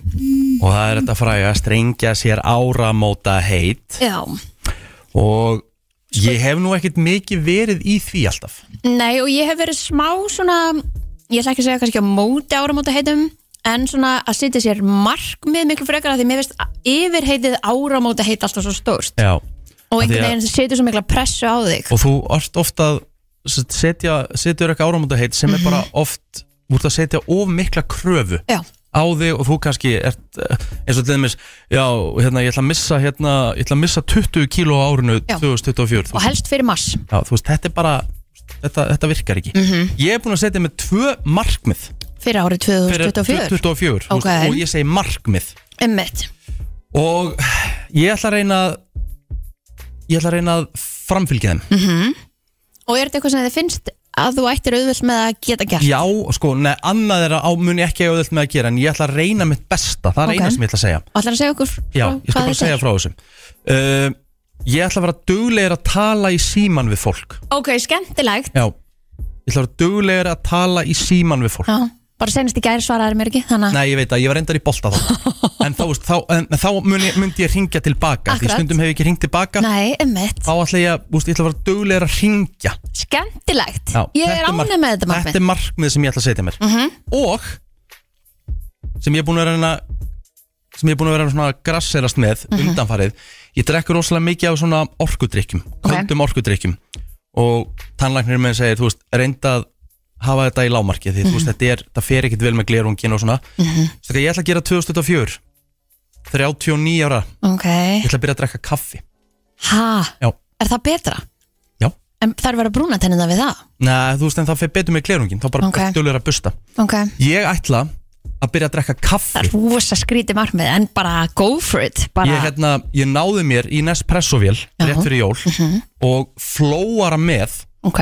A: og það er þetta fræga að strengja sér áramóta heit
B: já
A: og ég hef nú ekkert mikið verið í því alltaf
B: Nei, og ég hef verið smá svona Ég ætla ekki að segja kannski á móti áramóta heitum En svona að setja sér markmið miklu frekar af Því mér veist yfirheitið áramóta heit alltaf svo stórt
A: Já, Af
B: Og
A: því
B: einhvern
A: að-
B: veginn setur svo mikla pressu á þig
A: og þú ert ofta að setja, setjur eitthvað áramóndahheit sem
B: Mhm.
A: er bara oft þú ert að setja of mikla kröfu
B: Já,
A: á þig og þú kannski ert eh, eins og til dæmis, já, hérna, ég ætla að missa hérna, ég ætla að missa 20 kíló á árinu
B: Já.
A: 2024 þú,
B: og helst fyrir mass
A: já, þú veist, þetta er bara þetta, þetta virkar ekki
B: Mhm.
A: ég er búin að setja með tvö markmið
B: Fyrir árið
A: fyrir
B: 2024
A: 2024 þú veist,
B: Ok.
A: og ég segi markmið
B: Emmett
A: og ég ætla að reyna að ég ætla að reyna að framfylgja þeim
B: Mhm. Og er þetta eitthvað sem þið finnst að þú ættir auðvöld með að geta gert?
A: Já, sko, neða, annað er að á mun ég ekki auðvöld með að gera en ég ætla að reyna mitt besta, það er
B: Ok.
A: okay. eina sem ég ætla að segja
B: Og ætlar að segja okkur
A: Já, ég skal bara segja frá þessum uh, Ég ætla að vera duglegir að tala í síman við fólk
B: Ok, skemmtilegt
A: Já, ég ætla að vera duglegir að tala í síman við fólk
B: Já, bara senast í gæri svaraði mér ekki Þannig að
A: Nei, ég veit að ég var reyndar í bolta þá En þá, veist, þá, en, en þá mun ég, myndi ég ringja tilbaka Því
B: Akkurat.
A: stundum hef ég ekki ringt tilbaka
B: Nei, emmett
A: Þá ætla ég, að, úst, ég ætla að vera duglegir að ringja
B: Skemmtilegt
A: Já,
B: Ég er
A: mark-
B: ánægð með þetta markmið Mhm.
A: Þetta er markmið sem ég ætla að setja mér Og sem ég er búin að reyna sem ég er búin að vera svona að grasserast með
B: Mhm.
A: undanfarið, ég drekkur rosalega mikið af svona orkudrykkjum,
B: Ok.
A: höndum orkudrykkjum og tannlæknir minn segir, þú veist, reynda að hafa þetta í lámarki, því þú
B: Mhm.
A: veist, þetta er það fer ekkit vel með glerungin og svona mm ég ætla að gera 2004 39 ára,
B: Ok
A: ég ætla að byrja að drekka kaffi
B: Ha,
A: Já,
B: er það betra?
A: já
B: En þær vera brúna tennina við það
A: Nei, þú veist, en það fer betur með glerungin, þá bara
B: Ok.
A: okay. dölur að busta
B: Ok
A: Ég ætla að byrja að drekka
B: Það
A: kaffi
B: er rosa skrítið markmið En bara go for it bara,
A: ég, hérna, ég náði mér í Nespresso-vél rétt fyrir jól
B: Mhm.
A: og flóara með
B: Ok,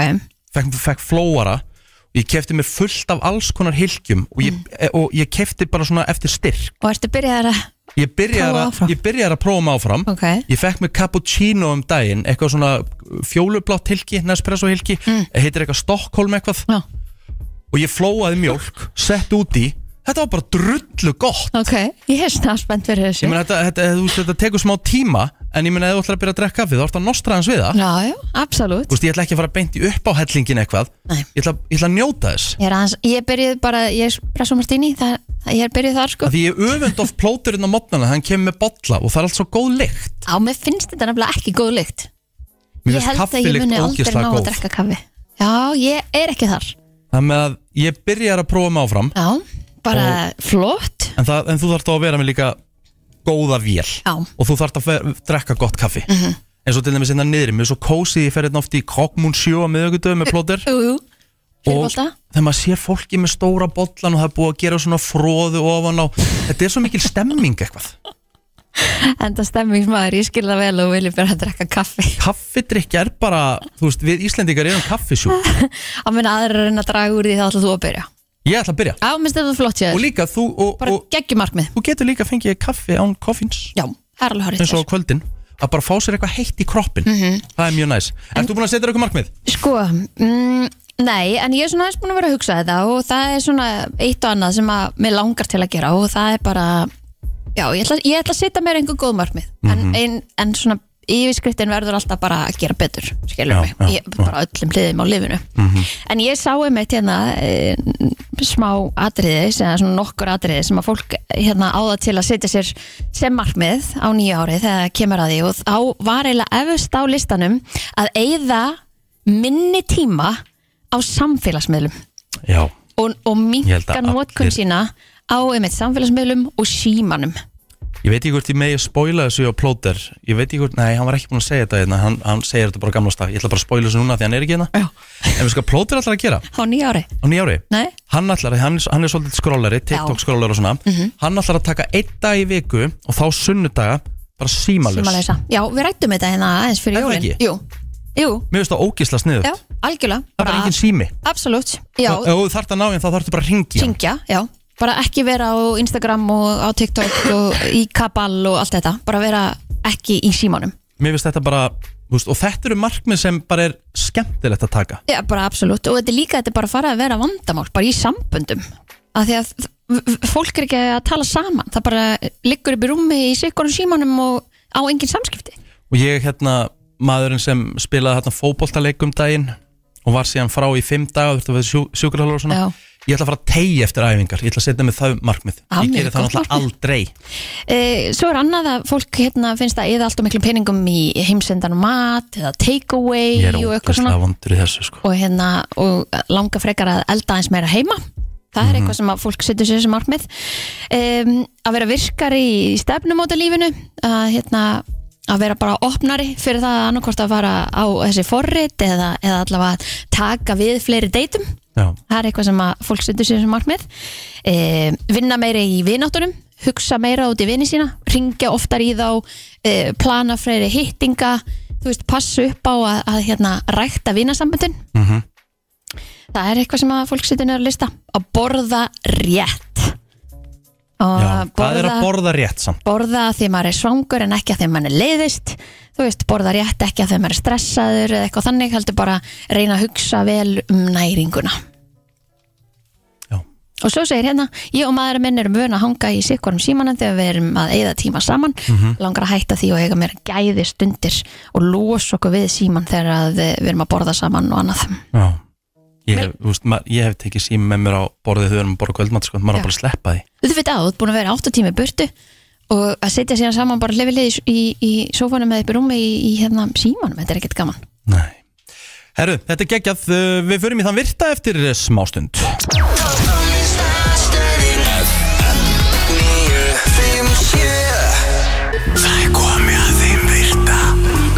A: fekk, fekk flóara og ég kefti mér fullt af alls konar hylgjum og ég,
B: Mm.
A: e, og ég kefti bara svona eftir styrk
B: og ertu byrjaðar að
A: ég byrjar,
B: Prófa áfram.
A: að, ég byrjar að prófa mig áfram
B: Ok.
A: ég fekk mér cappuccino um daginn eitthvað svona fjólublátt hylgi Nespresso hylgi,
B: Mm.
A: heitir eitthvað Stockholm eitthvað
B: Já,
A: og ég flóaði mjólk, sett út í þetta var bara drullu gott
B: ok, ég er snáðspennt fyrir þessu
A: Ég meina þetta, þetta, þetta, þetta, þetta tekur smá tíma En ég meina ef þú ætlar að byrja að drekka kaffi Þá ert að nostra hans við það
B: Já, já, absolutt
A: Þú veist, ég ætla ekki að fara beint í upp á hellingin eitthvað
B: Nei.
A: ég ætla, ég ætla að njóta þess
B: Ég, er aðeins, ég byrjuð bara, ég er Brasso Martini, það, það- ég er byrjuð þar sko
A: Af Því ég er öfund of plóturinn á modnana Hann kemur með bolla og það er allt svo góð lykt
B: Á, mér finnst þetta nefnilega ekki góð lykt
A: Mér finnst
B: Ég held að ég
A: kaffilykt
B: muni aldrei
A: ógeðslega
B: ná að
A: góð.
B: drekka kaffi Já, ég er ekki þar
A: Þannig að ég byrjar að prófa mig áfram
B: Já, bara flott
A: en, það, en þú þarft þá að vera með líka góða vél
B: Já. Mhm.
A: Og þú þarft að fer, drekka gott kaffi mm -hmm. En svo til dæmis hérna niðri Mér er svo kósi, ég fer hérna oft í Krokmun 7 á miðugudöðu með plótur
B: Jú, jú,
A: og
B: fyrirbolta
A: þegar maður sér fólki með stóra bollan og það er búið að gera svona fróðu ofan á þetta er svo mikil stemming eitthvað
B: Enda stemmingsmaður, ég skil það vel og vilja byrja að drekka kaffi
A: kaffidrykja er bara, þú veist, við Íslendingar erum kaffisjú,
B: Á meðan aðra er að reyna að draga úr því þá ætla þú að byrja
A: ég ætla að byrja
B: Já, minnst þetta flott
A: og
B: sér,
A: líka þú og,
B: bara
A: og
B: geggjumarkmið
A: þú getur líka fengið kaffi án koffins
B: Já, það er alveg horrið
A: eins og á kvöldin, að bara fá sér eitthvað heitt í kroppin
B: Mhm.
A: það er mjög næs, ert þú búin að setja þér eitthvað markmið?
B: Sko, mm, nei, en ég er svona aðeins búin að vera að hugsa þetta og það er svona eitt og annað sem að mér langar til að gera og það er bara, já, ég ætla, ég ætla að setja mér einhver góð markmið,
A: Mhm.
B: en, en, en svona yfirskriftin verður alltaf bara að gera betur, skilur
A: Já,
B: mig,
A: já, Mhm.
B: ég, bara öllum hliðum á lifinu. En ég sá einmitt hérna e, smá atriði, sem er svona nokkur atriði sem að fólk hérna áða til að setja sér sem markmið á nýja ári þegar það kemur að því og þá var eiginlega efust á listanum að eigða minni tíma á samfélagsmiðlum
A: Já,
B: og, og
A: Ég held
B: minka
A: að
B: notkun
A: allir-
B: sína á einmitt samfélagsmiðlum og símanum
A: ég veit ekki hvort ég megi að spoila þessu á plóter, ég veit ekki hvort, nei, hann var ekki búin að segja þetta hérna, hann, hann segir þetta bara á gamla stað ég ætla bara að spoila þessu núna því hann er ekki hérna
B: Já.
A: en við sko, plóter ætlar að gera
B: á nýja ári
A: á nýjári
B: Nei?
A: hann ætlar, hann, er- hann er svolítið skrólari, TikTok skrólari og svona
B: Mhm.
A: hann ætlar að taka einn dag í viku og þá sunnudaga bara símalus
B: Símalausa. Já, við rættum þetta hérna aðeins fyrir
A: Það var
B: jólin
A: ekki?
B: Jú, Jú,
A: Mér finnst það ógisla sniðut
B: já, algjörlega
A: Það er bara engin sími
B: Absolutt, já,
A: Ef þú þarft að ná henn þá þarftu bara að ringja
B: syngja, já Bara ekki vera á Instagram og á TikTok og í Kabal og allt þetta Bara vera ekki í símanum
A: Mér finnst þetta bara þú veist, Og þetta eru markmið sem bara er skemmtilegt að taka
B: Já, bara absolutt og þetta er líka, þetta er bara að fara að vera vandamál bara í samböndum af því að f- f- fólk er ekki að tala saman það bara liggur upp í rúmi í sikkunum símanum og á engin samskipti
A: Og ég hérna maðurinn sem spilaði hérna fótboltaleik um daginn og var síðan frá í fimm daga þurfti að vera sjú, sjúkralóður og svona
B: Já.
A: Ég ætla að fara að tegja eftir æfingar Ég ætla að setja með þau markmið
B: Ah,
A: Ég
B: mjög
A: geri það
B: gott
A: náttúrulega aldrei
B: e, Svo er annað að fólk hérna finnst að eða allt og miklu peningum í heimsendan og mat eða takeaway
A: Ég er
B: og
A: ógisla
B: eitthvað svona
A: vondur í þessu sko
B: og hérna og langa frekar að elda eins meira heima það er eitthvað sem að fólk setur sér sem markmið um, að vera virkari í stefnumóta lífinu að hérna að vera bara opnari fyrir það að annarkvort að fara á þessi forrit eða, eða allavega taka við fleiri deytum
A: Já.
B: það er eitthvað sem að fólk setur sér sem markmið um, vinna meira í vináttunum hugsa meira út í vini sína ringja oftar í þá uh, plana fleiri hittinga þú veist, passa upp á að, að hérna, rækta vinasamböndin
A: Mhm.
B: Það er eitthvað sem að fólk situr niður að lista að borða rétt og
A: Já,
B: að
A: Hvað er
B: borða,
A: að borða rétt samt?
B: borða því maður er svangur en ekki að því maður er leiðist þú veist, borða rétt ekki að því maður er stressaður eða eitthvað þannig, heldur bara reyna að hugsa vel um næringuna
A: Já.
B: Og svo segir hérna, ég og maðurinn minn erum vöna að hanga í sikvarum símanum þegar við erum að eigða tíma saman, langar að hætta því og eiga mér gæði stundir og losa okkur við síman þegar að eh, við erum að borða saman og annað.
A: Já. Ég hef, þú veist, maður, ég hef tekið sími með mér á borðið þegar maður borða kvöldmatt sko, maður á
B: Já.
A: bara að sleppa því
B: þú veit að þú ert búin að vera 8 tími burtu og að setja síðan saman bara hlifið lið í, í sófanum eða upp í rúmi í, í hérna símanum, þetta er ekkert gaman
A: Nei. Herru, þetta er geggjað, uh, við förum í þann virta eftir uh, smástund
F: Það er komið að þeim virta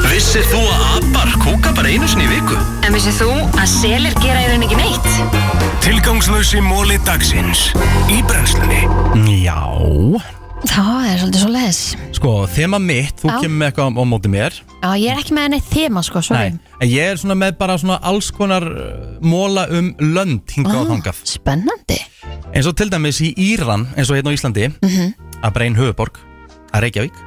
F: Vissir þú að abar kúka bara einu sinni í viku?
G: En vissið þú að selir gera í rauninni ekki neitt?
F: Tilgangslösi móli dagsins Í brennslunni
A: Já
B: það er svolítið svo les
A: Sko, þema mitt, þú
B: Já.
A: kemur með eitthvað á, á móti mér
B: já, ég er ekki með henni þema sko, sorry
A: Nei, en ég er svona með bara svona alls konar uh, móla um lönd hingað
B: Ah.
A: og þangað
B: spennandi
A: eins og til dæmis í Íran, eins og hérna á Íslandi
B: Mhm.
A: að bara einn höfuborg að Reykjavík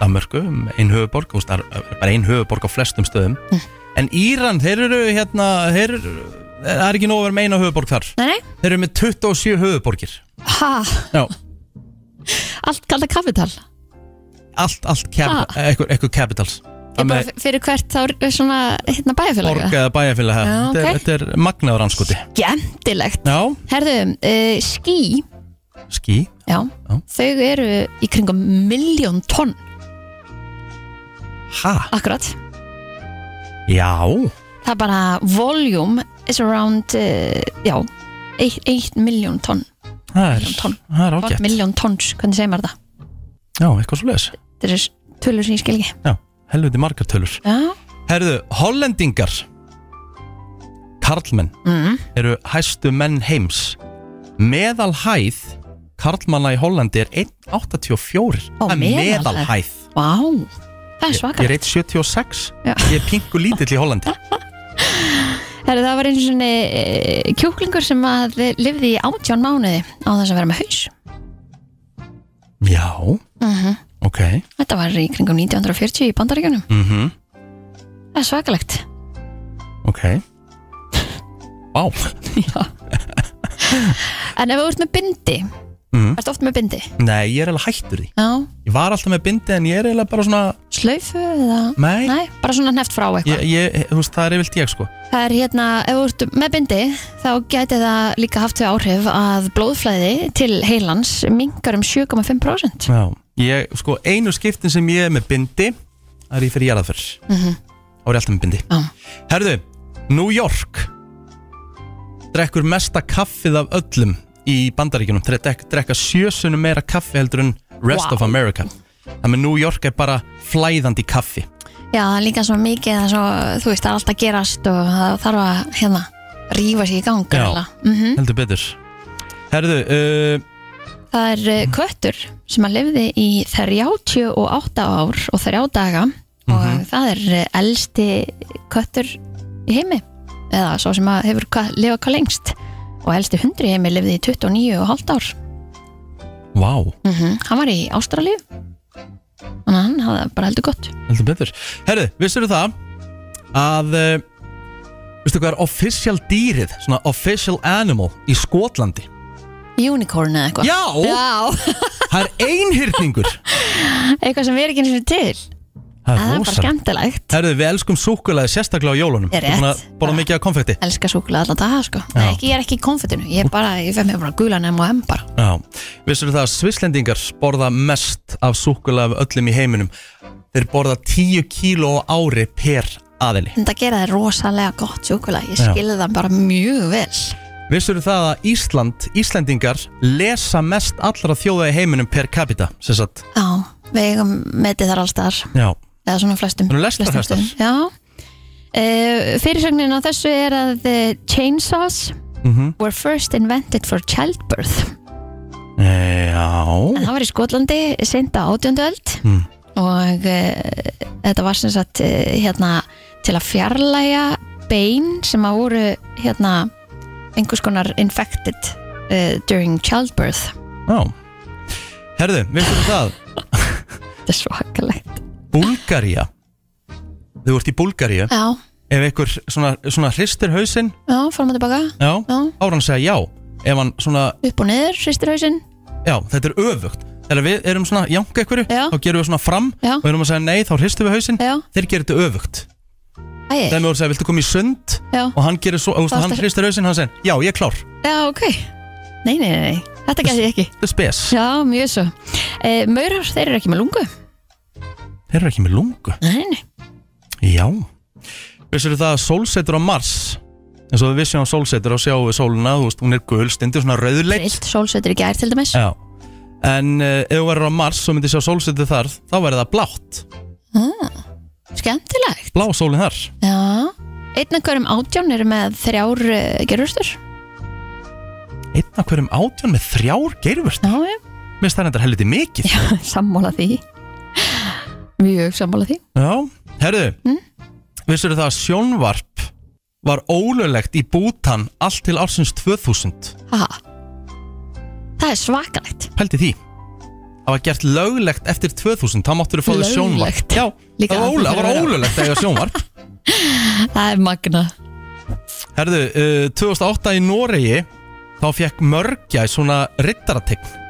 A: Danmörku, einn höfuborg þú veist, það er bara einn höfuborg á flestum stöðum
B: Mm.
A: en Íran, þeir eru hérna þeir eru, það er ekki nóg að vera með eina höfuborg þar
B: nei, nei,
A: þeir eru með 27 höfuborgir
B: ha,
A: Já,
B: allt kallað kapital ég
A: allt, allt cap, eitthvað, eitthvað capitals Það
B: bara
A: með
B: f- fyrir hvert þá er svona hérna
A: borg
B: bæjarfélaga
A: eða bæjarfélag
B: Já,
A: þetta er-
B: ok.
A: þetta er magnaður anskoti
B: gentilegt
A: Já,
B: herðu, uh, ský
A: ský
B: já,
A: Já.
B: þau eru í kringum miljón tonn
A: Ha?
B: akkurat
A: Já
B: það er bara volume is around uh, já, 1 miljón tonn
A: Það er,
B: Milljón tonn.
A: það er ágætt
B: miljón tonns, hvernig segir maður það
A: Já, eitthvað svo leiðis
B: þetta er tölur sem ég skil ekki
A: Já, helviti margar tölur
B: já,
A: Herðu, hollendingar Karlmenn
B: mm.
A: eru hæstu menn heims Meðal hæð Karlmanna í Hollandi er 1,84 Það
B: Ó,
A: er
B: meðalhæð.
A: meðal hæð
B: wow. það er
A: Ég
B: svakar
A: er 1,76
B: Já.
A: Ég er pingu lítill í Hollandi
B: Heru, það var einu svona uh, kjúklingur sem að lifði í 18 mánuði á þess að vera með haus
A: Já,
B: Mhm.
A: ok
B: þetta var í kringum 1940 í bandaríkjunum
A: mm
B: það er svakalegt
A: Ok Vá
B: en ef þú ert með bindi
A: Mhm.
B: ert oft með bindi
A: Nei, ég er eiginlega hættur því
B: já,
A: Ég var alltaf með bindi en ég er eiginlega bara svona
B: slaufu eða
A: Nei,
B: Nei, bara svona hneft frá eitthvað
A: ég, ég, þú veist, það er yfirlt ég sko
B: Það er hérna, ef þú ert með bindi þá gæti það líka haft þau áhrif að blóðflæði til heilans mingar um 7,5%
A: Já, ég, sko, einu skiptin sem ég er með bindi Það er ég fyrir jarðaferð mm Þá er ég alltaf með bindi
B: Já.
A: Herðu, New York Drekkur mesta kaffið af öllum Í bandaríkjunum Þeir drek, drekka sjösunum meira kaffi heldur en Rest of America Það með New York er bara flæðandi kaffi
B: Já, það er líka svo mikið að svo, þú veist, það er alltaf gerast og það þarf að, hérna, rífa sér í gang
A: Já.
B: greinilega. Mhm.
A: Heldur betur Herðu, uh,
B: Það er eh, köttur sem að lifði í 38 ár og 3 daga
A: Mhm.
B: og það er eh, elsti köttur í heimi eða svo sem að hefur hva, lifað hvað lengst og elsti hundri í heimi lifði í 29 og hálft ár
A: Vá,
B: mm hann var í Ástralíu þannig að hann hafði bara heldur gott
A: heldur betur Herðu, vissirðu það að uh, Vistu hvað er official dýrið Svona official animal í Skotlandi
B: unicorn eða eitthvað
A: Já,
B: Já,
A: það er einhyrningur
B: eitthvað sem er ekki eins og til
A: Það
B: það er bara
A: rosalegt.
B: skemmtilegt
A: Herðu, við elskum súkkulaði sérstaklega á jólunum
B: Er
A: Þú ert búin að
B: rétt.
A: Borða mikið af konfekti
B: elska súkulega alltaf daga sko Nei, ekki, ég er ekki í konfettinu, ég er bara, ég fæ mér bara gulan M og M bara
A: Já, vissur það að svislendingar borða mest af súkulega af öllum í heiminum Þeir borða 10 kíló á ári per aðili
B: en það gera það rosalega gott súkulega ég skilði það bara mjög vel
A: Vissur það að Ísland, Íslendingar lesa mest allra þjóða í heiminum per capita sem sagt,
B: Já, við eigum metið þar allstaðar
A: já,
B: eða svona flestum
A: Svona lestrarhestar?
B: stöðum. Já uh, Fyrirsögnin á þessu er að eh, chainsaws were first invented for childbirth
A: e, já
B: en það var í Skotlandi seinda átjöndöld
A: Mm.
B: og uh, þetta var sem sagt uh, hérna til að fjarlæga bein sem að voru hérna einhvers konar infected uh, during childbirth
A: Já Herðu, vissur það
B: þetta er svakalegt
A: Búlgaría Þau vart í Búlgaríu
B: Já,
A: Ef einhver svona, svona hristir hausinn
B: já, fórum að tilbaka
A: Já,
B: Já.
A: áran segja já Ef hann svona,
B: upp og niður, hristir hausinn
A: já, þetta er öfugt Þegar við erum svona að jánka einhverju
B: Já.
A: Þá gerum við svona fram
B: Já.
A: Og erum að segja nei, þá hristum við hausinn
B: Já,
A: Þeir gerir þetta öfugt
B: æg,
A: Þegar við vorum að segja, viltu koma í sund
B: já
A: Og hann gerir svo, og
B: Þá
A: hann
B: ertu-
A: hristir hausinn Hann segir, já, ég er klár,
B: Já, ok. Nei, nei, nei, nei. Þetta gæti ég ekki.
A: þetta er spes
B: Já, mjög svo. E, Maurar, þeir eru ekki með lungu.
A: Þeir eru ekki með lungu
B: Nei, nei.
A: Já Vissir það að sólsetur á Mars En svo við vissum á sólsetur og sjáum við sóluna Þú veist, hún er gul, stindur svona rauðleitt
B: Trillt sólsveitur í gær til dæmis.
A: Já En uh, ef þú verður á Mars og myndir sjá sólsetur þar Þá verður það blátt
B: Skemmtilegt.
A: Blá sólin þar
B: Já. Einn af hverjum átján eru með þrjár uh, gerustur.
A: Einn af hverjum átján með þrjár geirvörst
B: Já, já.
A: Mér finnst það reyndar helviti mikið Já,
B: Sammála því. Mjög sammála því.
A: herðu mm? Vissur það að sjónvarp Var ólulegt í Bútan Allt til ársins 2000
B: Haha. Það er svakalegt.
A: Pældi því Það var gert löglegt eftir 2000 Þá máttur þú fá því
B: Löglegt?
A: sjónvarp Já,
B: Líka
A: það var,
B: aldrei
A: óle það var
B: verið.
A: ólulegt að eiga sjónvarp
B: Það er magna.
A: Herðu, uh, 2008 í Noregi Þá fekk mörgja í svona rittarategn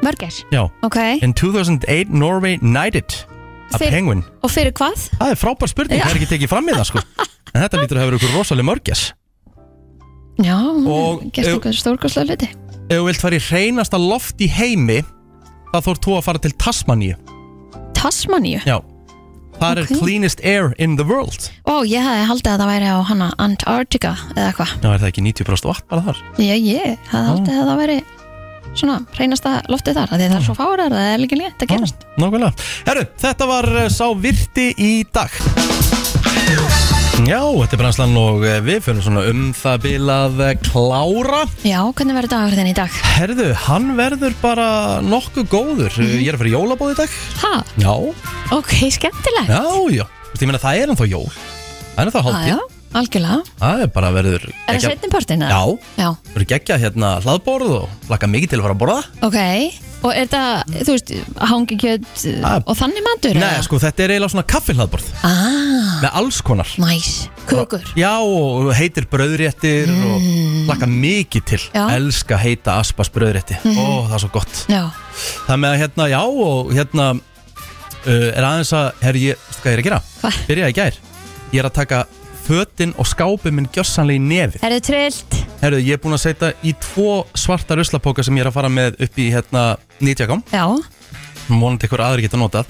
B: Mörgir.
A: Já,
B: Ok.
A: In 2008, Norway knighted a
B: Fyrir-
A: penguin.
B: Og fyrir hvað?
A: Það er frábær spurning,
B: Já.
A: það er ekki tekið fram í það sko. En þetta lítur að hafa verið ykkur rosalega mörgjars.
B: Já,
A: Og-
B: gerst
A: ef-
B: okkur stórkostlega hluti.
A: Ef þú vilt fara í hreinasta loft í heimi, þá þór þú að fara til Tasmaníu.
B: Tasmaníu.
A: Já. Það
B: Ok.
A: er cleanest air in the world.
B: Ó, ég hefði haldið að það væri á hana Antarctica eða eitthvað.
A: Já, er það ekki 90% vatn bara þar?
B: Já, ég hefði haldið að það væri svona reynasta loftið þar, af því að það er svo fárar það er líka létt að gerast.
A: Nákvæmlega. Herru, þetta var eh, sá virti í dag. Já, þetta er brennslan og eh, við fyrir svona um það bilað klára.
B: Já, hvernig verður dagur þinn í dag?
A: Herðu, hann verður bara nokkuð góður.
B: Mhm.
A: Ég er að fara í jólabóð í dag.
B: Ha,
A: Já,
B: ok, skemmtilegt.
A: já, já. Þú veist, ég meina það er ennþá jól. Það er ennþá
B: Já, já,
A: haldið.
B: algjörlega.
A: Það er bara verður
B: Er það setni partinn?
A: Já,
B: Já,
A: verður geggja hérna hlaðborð og laka mikið til að fara að borða.
B: ok. Og er það, þú veist, hangi kjöt
A: Ah.
B: og þannig matur?
A: Nei, sko, þetta er eiginlega svona kaffihlaðborð
B: Ah,
A: með alls konar.
B: næs, kökur.
A: Já, og heitir brauðréttir og laka mikið til.
B: Já.
A: Elska heita aspas brauðrétti. Ó, það er svo gott.
B: Já,
A: Það með að hérna, já, og hérna uh, er aðeins að, herri, ég, veistu hvað ég er að gera?
B: Hvað?
A: Byrjaði í gær. Ég er að taka fötin og skápin minn gjossanlega í nefið.
B: er það trillt?
A: Herru, ég er búin að setja í tvo svarta ruslapóka sem ég er að fara með upp í hérna nýtjakám.
B: Já,
A: Mónandi ykkur aðri geta notað.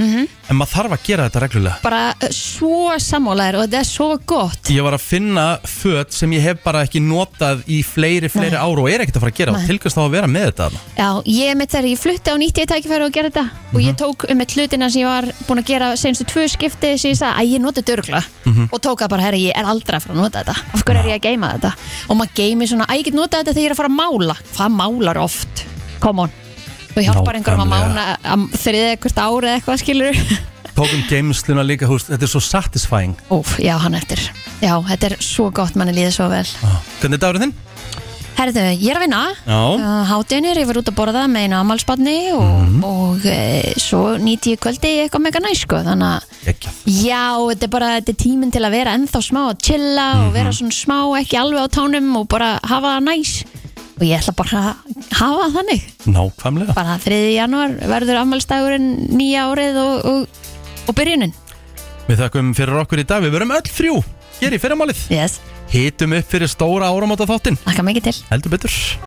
A: En maður þarf að gera þetta reglulega.
B: bara eh, svo sammálaður og þetta er svo gott.
A: Ég var að finna föt sem ég hef bara ekki notað í fleiri, fleiri
B: Nei.
A: ár og er ekkert að fara að gera.
B: Nei.
A: Nei. Tilkvæmst þá að vera með þetta. þarna.
B: Já, ég mitt þegar ég flutti á nýtti ég tækifæri og gerði þetta og ég tók um eitt hlutina sem ég var búin að gera senstu tvö skipti sem ég sagði að ég noti dörgla og tók að bara, herri, ég er aldrei að fara að nota þetta af hverju er ég að geima þetta og maður geimi svona, að ég get notað þetta þegar ég er að fara að mála hvað málar oft, come on og hjálpar einhverjum að
A: Nákvæmlega.
B: mána að- þriðja hvert ári eða eitthvað skilur
A: Þú tókum geimsluna um líka, húst, þetta er svo satisfying
B: Úf, já, hann eftir Já, þetta er svo gott, manni líður svo vel
A: Hvernig er dagurinn þinn?
B: Herðu, ég er að vinna
A: Já,
B: Uh, Hádeinir, ég var út að borða með einu amalsbarni og, og e, svo nýti ég kvöldi í eitthvað mega næs sko, þannig að
A: ekki
B: Já, þetta er bara þetta er tíminn til að vera ennþá smá að chilla og vera svona smá, ekki alveg á tánum og bara hafa það næs og ég ætla bara að hafa það þannig
A: Nákvæmlega
B: bara 3. janúar verður afmælstagurinn nýja árið og, og, og byrjunin
A: Við þakkum fyrir okkur í dag, við verum öll þrjú Hér í fyrramálið
B: Yes,
A: Hitum upp fyrir stóra áramóta þáttinn
B: þakka mikið til
A: Heldur betur